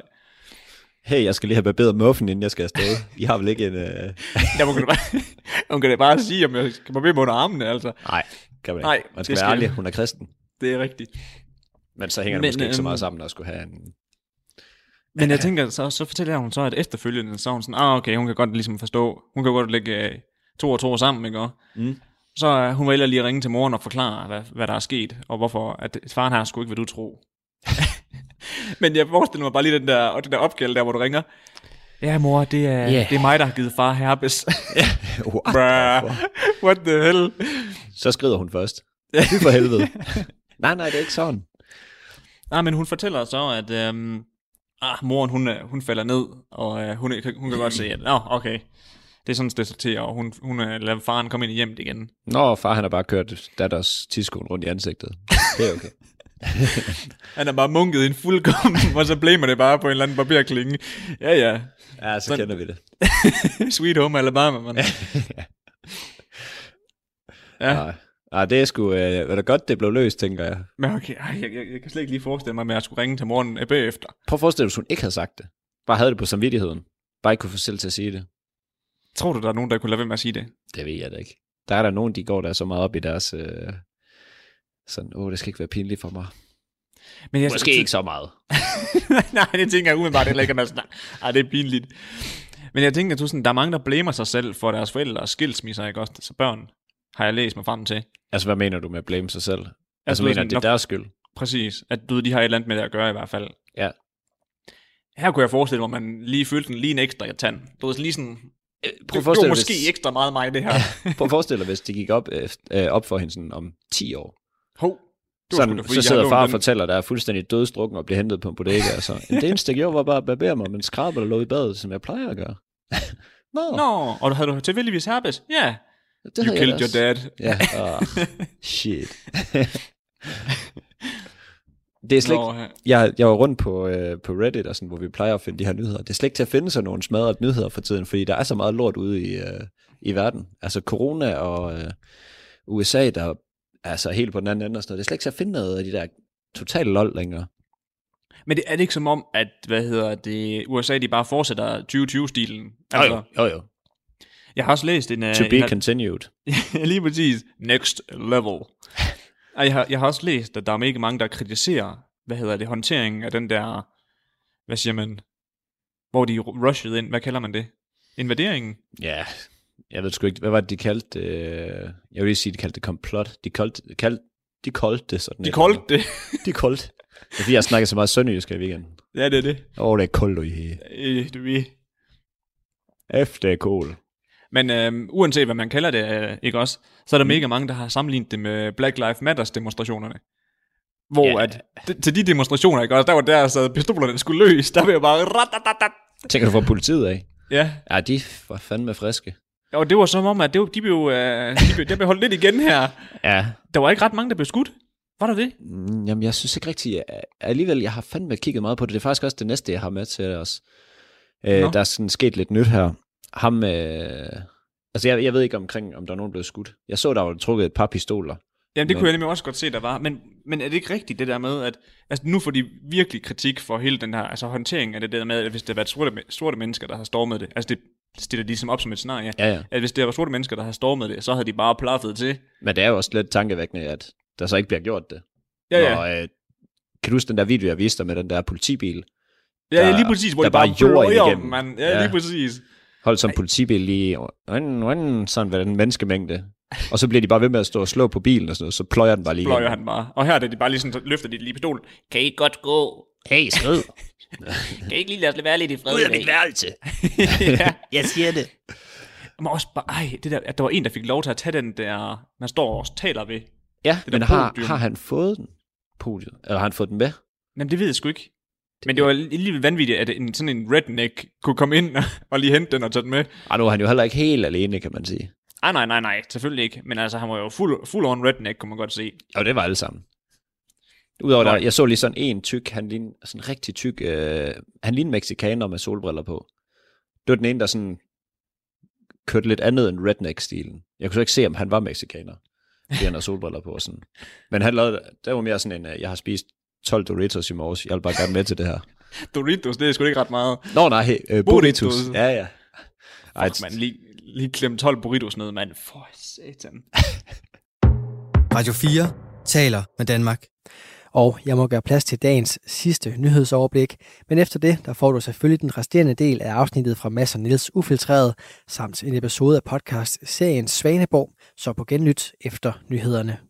[SPEAKER 6] Hey, jeg skal lige have barberet muffen, inden jeg skal afsted. I har vel ikke en... Øh...
[SPEAKER 5] Ja, hun kan da bare, hun kan da bare sige, om jeg skal barbere mig under armene, altså.
[SPEAKER 6] Nej, kan man ikke.
[SPEAKER 5] Nej,
[SPEAKER 6] man skal
[SPEAKER 5] det
[SPEAKER 6] være
[SPEAKER 5] skal-
[SPEAKER 6] ærlig, hun er kristen.
[SPEAKER 5] Det er rigtigt.
[SPEAKER 6] Men så hænger det
[SPEAKER 5] Men,
[SPEAKER 6] måske ikke så
[SPEAKER 5] øhm,
[SPEAKER 6] meget sammen, at skulle have en,
[SPEAKER 5] Men jeg tænker, så, så fortæller hun så, at efterfølgende, så er hun sådan, ah okay, hun kan godt ligesom forstå, hun kan godt lægge øh, to og to sammen, ikke også?
[SPEAKER 6] Mm.
[SPEAKER 5] Så øh, hun vælger lige at ringe til moren og forklare, hvad, hvad der er sket, og hvorfor, at faren her skulle ikke, hvad du tro. *laughs* Men jeg forestiller mig bare lige den der, og den der opgave der, hvor du ringer. Ja, mor, det er,
[SPEAKER 6] Ja.
[SPEAKER 5] yeah. det er mig, der har givet far herpes. *laughs*
[SPEAKER 6] What?
[SPEAKER 5] Bruh, what the hell?
[SPEAKER 6] Så skrider hun *laughs* først. Fy for helvede. nej, nej, det er ikke sådan.
[SPEAKER 5] Nej, men hun fortæller så, at øhm, ah, moren hun, øh, hun falder ned, og øh, hun, kan- hun kan godt se, at nå, okay, det er sådan, det står til, og hun, hun øh, lader faren komme ind i hjemmet igen.
[SPEAKER 6] Nå, far han har bare kørt datters tidskoen rundt i ansigtet. Det er okay.
[SPEAKER 5] Han er bare munket i en fuldkommen, *laughs* og så blæmer det bare på en eller anden barberklinge. Ja, ja.
[SPEAKER 6] *laughs*
[SPEAKER 5] *laughs*
[SPEAKER 6] Ja, så
[SPEAKER 5] Sådan-
[SPEAKER 6] kender vi det.
[SPEAKER 5] Sweet home Alabama, man. Ja.
[SPEAKER 6] Nej, nej det er sgu... Øh, det er da godt, det blev løst, tænker jeg.
[SPEAKER 5] Men okay, ej, jeg, jeg, jeg, kan slet ikke lige forestille mig, at jeg skulle ringe til moren øh, bagefter.
[SPEAKER 6] Prøv at forestille dig, hvis hun ikke havde sagt det. Bare havde det på samvittigheden. Bare ikke kunne få selv til at sige det.
[SPEAKER 5] Tror du, der er nogen, der kunne lade være med at sige det?
[SPEAKER 6] Det ved jeg da ikke. Der er der nogen, de går der så meget op i deres... Øh, sådan, åh, det skal ikke være pinligt for mig.
[SPEAKER 5] Men jeg,
[SPEAKER 6] Måske ikke så meget.
[SPEAKER 5] *laughs* Nej, det tænker jeg umiddelbart heller ikke, at man er sådan, "Ej, det er pinligt. Men jeg tænker, at du sådan, der er mange, der blæmer sig selv for deres forældre og skilsmisser, ikke også? Så børn har jeg læst mig frem til.
[SPEAKER 6] Altså, hvad mener du med at blame sig selv? Altså,
[SPEAKER 5] Altså,
[SPEAKER 6] altså
[SPEAKER 5] du ved
[SPEAKER 6] mener,
[SPEAKER 5] sådan,
[SPEAKER 6] det er
[SPEAKER 5] når-
[SPEAKER 6] deres skyld?
[SPEAKER 5] Præcis. At du ved, de har et eller andet med det at gøre i hvert fald.
[SPEAKER 6] Ja.
[SPEAKER 5] Her kunne jeg forestille mig, at man lige følte den lige en ekstra tand. Du ved, lige sådan,
[SPEAKER 6] Prøv at
[SPEAKER 5] det var
[SPEAKER 6] forestille dig,
[SPEAKER 5] måske
[SPEAKER 6] hvis,
[SPEAKER 5] ekstra meget mig, det her.
[SPEAKER 6] prøv at forestille dig, hvis det gik op, efter- øh, op for hende sådan om 10 år.
[SPEAKER 5] Hov, det var sgu da,
[SPEAKER 6] Sådan,
[SPEAKER 5] fordi
[SPEAKER 6] så
[SPEAKER 5] jeg
[SPEAKER 6] sidder
[SPEAKER 5] lånte
[SPEAKER 6] far og
[SPEAKER 5] den.
[SPEAKER 6] fortæller, der er fuldstændig dødstrukken og bliver hentet på en bodega. Og så, det eneste, jeg gjorde, var bare at barbere mig, men skrabe, der lå i badet, som jeg plejer at gøre. *laughs* Nå,
[SPEAKER 5] Nå, og havde du tilfældigvis herpes? Ja, yeah.
[SPEAKER 6] det
[SPEAKER 5] you
[SPEAKER 6] havde
[SPEAKER 5] killed
[SPEAKER 6] jeg
[SPEAKER 5] your
[SPEAKER 6] ellers.
[SPEAKER 5] dad. *laughs*
[SPEAKER 6] Ja, oh, shit. det er slet
[SPEAKER 5] Nå,
[SPEAKER 6] ikke,
[SPEAKER 5] ja.
[SPEAKER 6] jeg, jeg var rundt på, øh, på Reddit, og sådan, hvor vi plejer at finde de her nyheder. Det er slet ikke til at finde sådan nogle smadrede nyheder for tiden, fordi der er så meget lort ude i, øh, i verden. Altså corona og øh, USA, der er så helt på den anden ende og sådan noget. Det er slet ikke til at finde noget af de der totale lol længere.
[SPEAKER 5] Men det er det ikke som om, at hvad hedder det, USA de bare fortsætter 2020-stilen?
[SPEAKER 6] Altså, jo, jo.
[SPEAKER 5] Jeg har også læst en... øh,
[SPEAKER 6] To
[SPEAKER 5] en,
[SPEAKER 6] be continued.
[SPEAKER 5] *laughs* Lige præcis. Next level. Og jeg har, jeg har også læst, at der er mega mange, der kritiserer, hvad hedder det, håndteringen af den der, hvad siger man, hvor de rushede ind, hvad kalder man det? Invaderingen?
[SPEAKER 6] Ja, jeg ved sgu ikke, hvad var det, de kaldte øh, Jeg vil lige sige, de kaldte det komplot. De kaldte, kaldte, de kaldte det sådan.
[SPEAKER 5] De
[SPEAKER 6] et
[SPEAKER 5] kaldte det.
[SPEAKER 6] eller andet. De kaldte. Det er fordi, jeg snakker så meget sønderjysk her i weekenden.
[SPEAKER 5] ja, det er det.
[SPEAKER 6] Åh, oh, det er koldt i her.
[SPEAKER 5] Øh, du ved.
[SPEAKER 6] Efter kål.
[SPEAKER 5] Men øh, uanset hvad man kalder det, øh, ikke også, så er der mm. mega mange, der har sammenlignet det med Black Lives Matters demonstrationerne. Hvor
[SPEAKER 6] Ja.
[SPEAKER 5] yeah. at, d- til de demonstrationer, ikke også, der var der, så pistolerne skulle løs, der blev jeg bare... ratatatat.
[SPEAKER 6] Tænker du fra politiet af?
[SPEAKER 5] Ja,
[SPEAKER 6] Ja, de var fandme friske.
[SPEAKER 5] og det var som om, at det var, de, blev, øh, de, blev, de blev holdt lidt igen her.
[SPEAKER 6] Ja.
[SPEAKER 5] Der var ikke ret mange, der blev skudt. Var der det?
[SPEAKER 6] Mm, Jamen, jeg synes ikke rigtigt. Jeg, alligevel, jeg har fandme kigget meget på det. Det er faktisk også det næste, jeg har med til os. Øh,
[SPEAKER 5] Nå.
[SPEAKER 6] der er sådan sket lidt nyt her. Ham, øh, altså jeg, jeg ved ikke omkring, om der er nogen, der blev skudt. Jeg så, der var trukket et par pistoler.
[SPEAKER 5] Jamen, det
[SPEAKER 6] Nå.
[SPEAKER 5] kunne jeg nemlig også godt se, der var. Men, men er det ikke rigtigt, det der med, at altså, nu får de virkelig kritik for hele den her altså, håndtering af det der med, at hvis det har været sorte, men- sorte mennesker, der har stormet det, altså det stiller de ligesom op som et scenarie,
[SPEAKER 6] Ja, ja.
[SPEAKER 5] at hvis det var sorte mennesker, der har stormet det, så havde de bare plaffet til.
[SPEAKER 6] Men det er jo også lidt tankevækkende, at der så ikke bliver gjort det.
[SPEAKER 5] Ja, ja.
[SPEAKER 6] Når, øh, kan du huske den der video, jeg viste dig med den der politibil?
[SPEAKER 5] Ja, ja
[SPEAKER 6] der-
[SPEAKER 5] lige præcis, hvor
[SPEAKER 6] der
[SPEAKER 5] de bare
[SPEAKER 6] bare jord
[SPEAKER 5] pløjer
[SPEAKER 6] igennem.
[SPEAKER 5] dem, mand. Ja,
[SPEAKER 6] Ja.
[SPEAKER 5] lige præcis.
[SPEAKER 6] Holdt som politibil lige øjn, øjn, sådan ved den menneskemængde. Og så bliver de bare ved med at stå og slå på bilen og sådan noget, så pløjer den bare lige
[SPEAKER 5] Pløjer
[SPEAKER 6] igennem.
[SPEAKER 5] han bare. Og her er det, de bare lige sådan, så løfter de lige pistolen. Kan I ikke godt gå?
[SPEAKER 6] Hey, skrid!
[SPEAKER 5] Kan I ikke lige lade os lade være lidt i fred?
[SPEAKER 6] Ud af
[SPEAKER 5] i dag?
[SPEAKER 6] mit værelse!
[SPEAKER 5] ja.
[SPEAKER 6] Jeg siger det.
[SPEAKER 5] Men også bare, ej, det der, at der var en, der fik lov til at tage den der, man står og taler ved.
[SPEAKER 6] Ja,
[SPEAKER 5] Det der
[SPEAKER 6] men har,
[SPEAKER 5] podium.
[SPEAKER 6] har han fået den? Podiet? Eller har han fået den med?
[SPEAKER 5] Jamen, det ved jeg sgu ikke. Men det var alligevel vanvittigt, at en, sådan en redneck kunne komme ind og lige hente den og tage den med.
[SPEAKER 6] Ej, nu er han jo heller ikke helt alene, kan man sige.
[SPEAKER 5] Ej, nej, nej, nej, selvfølgelig ikke. Men altså, han var jo fuld, fuld on redneck, kunne man godt se.
[SPEAKER 6] Og det var alle sammen. Udover der,
[SPEAKER 5] Nej.
[SPEAKER 6] jeg så lige sådan en tyk, han lignede sådan en rigtig tyk, øh, han lignede en meksikaner med solbriller på. Det var den ene, der sådan kørte lidt andet end redneck-stilen. Jeg kunne så ikke se, om han var meksikaner, fordi han har solbriller på. og Sådan. Men han lavede, der var mere sådan en, øh, jeg har spist 12 Doritos i morges, jeg vil bare gerne med til det her.
[SPEAKER 5] Doritos, det er sgu ikke ret meget.
[SPEAKER 6] Nå nej, øh, Burritos.
[SPEAKER 5] Burritos.
[SPEAKER 6] Ja, ja. Ej,
[SPEAKER 5] Fuck, man, lige, lige klemme 12 burritos ned, mand. For satan.
[SPEAKER 1] Radio 4 taler med Danmark.
[SPEAKER 2] Og jeg må gøre plads til dagens sidste nyhedsoverblik, men efter det, der får du selvfølgelig den resterende del af afsnittet fra Mads og Niels Ufiltreret, samt en episode af podcast-serien Svaneborg, så på genlyt efter nyhederne.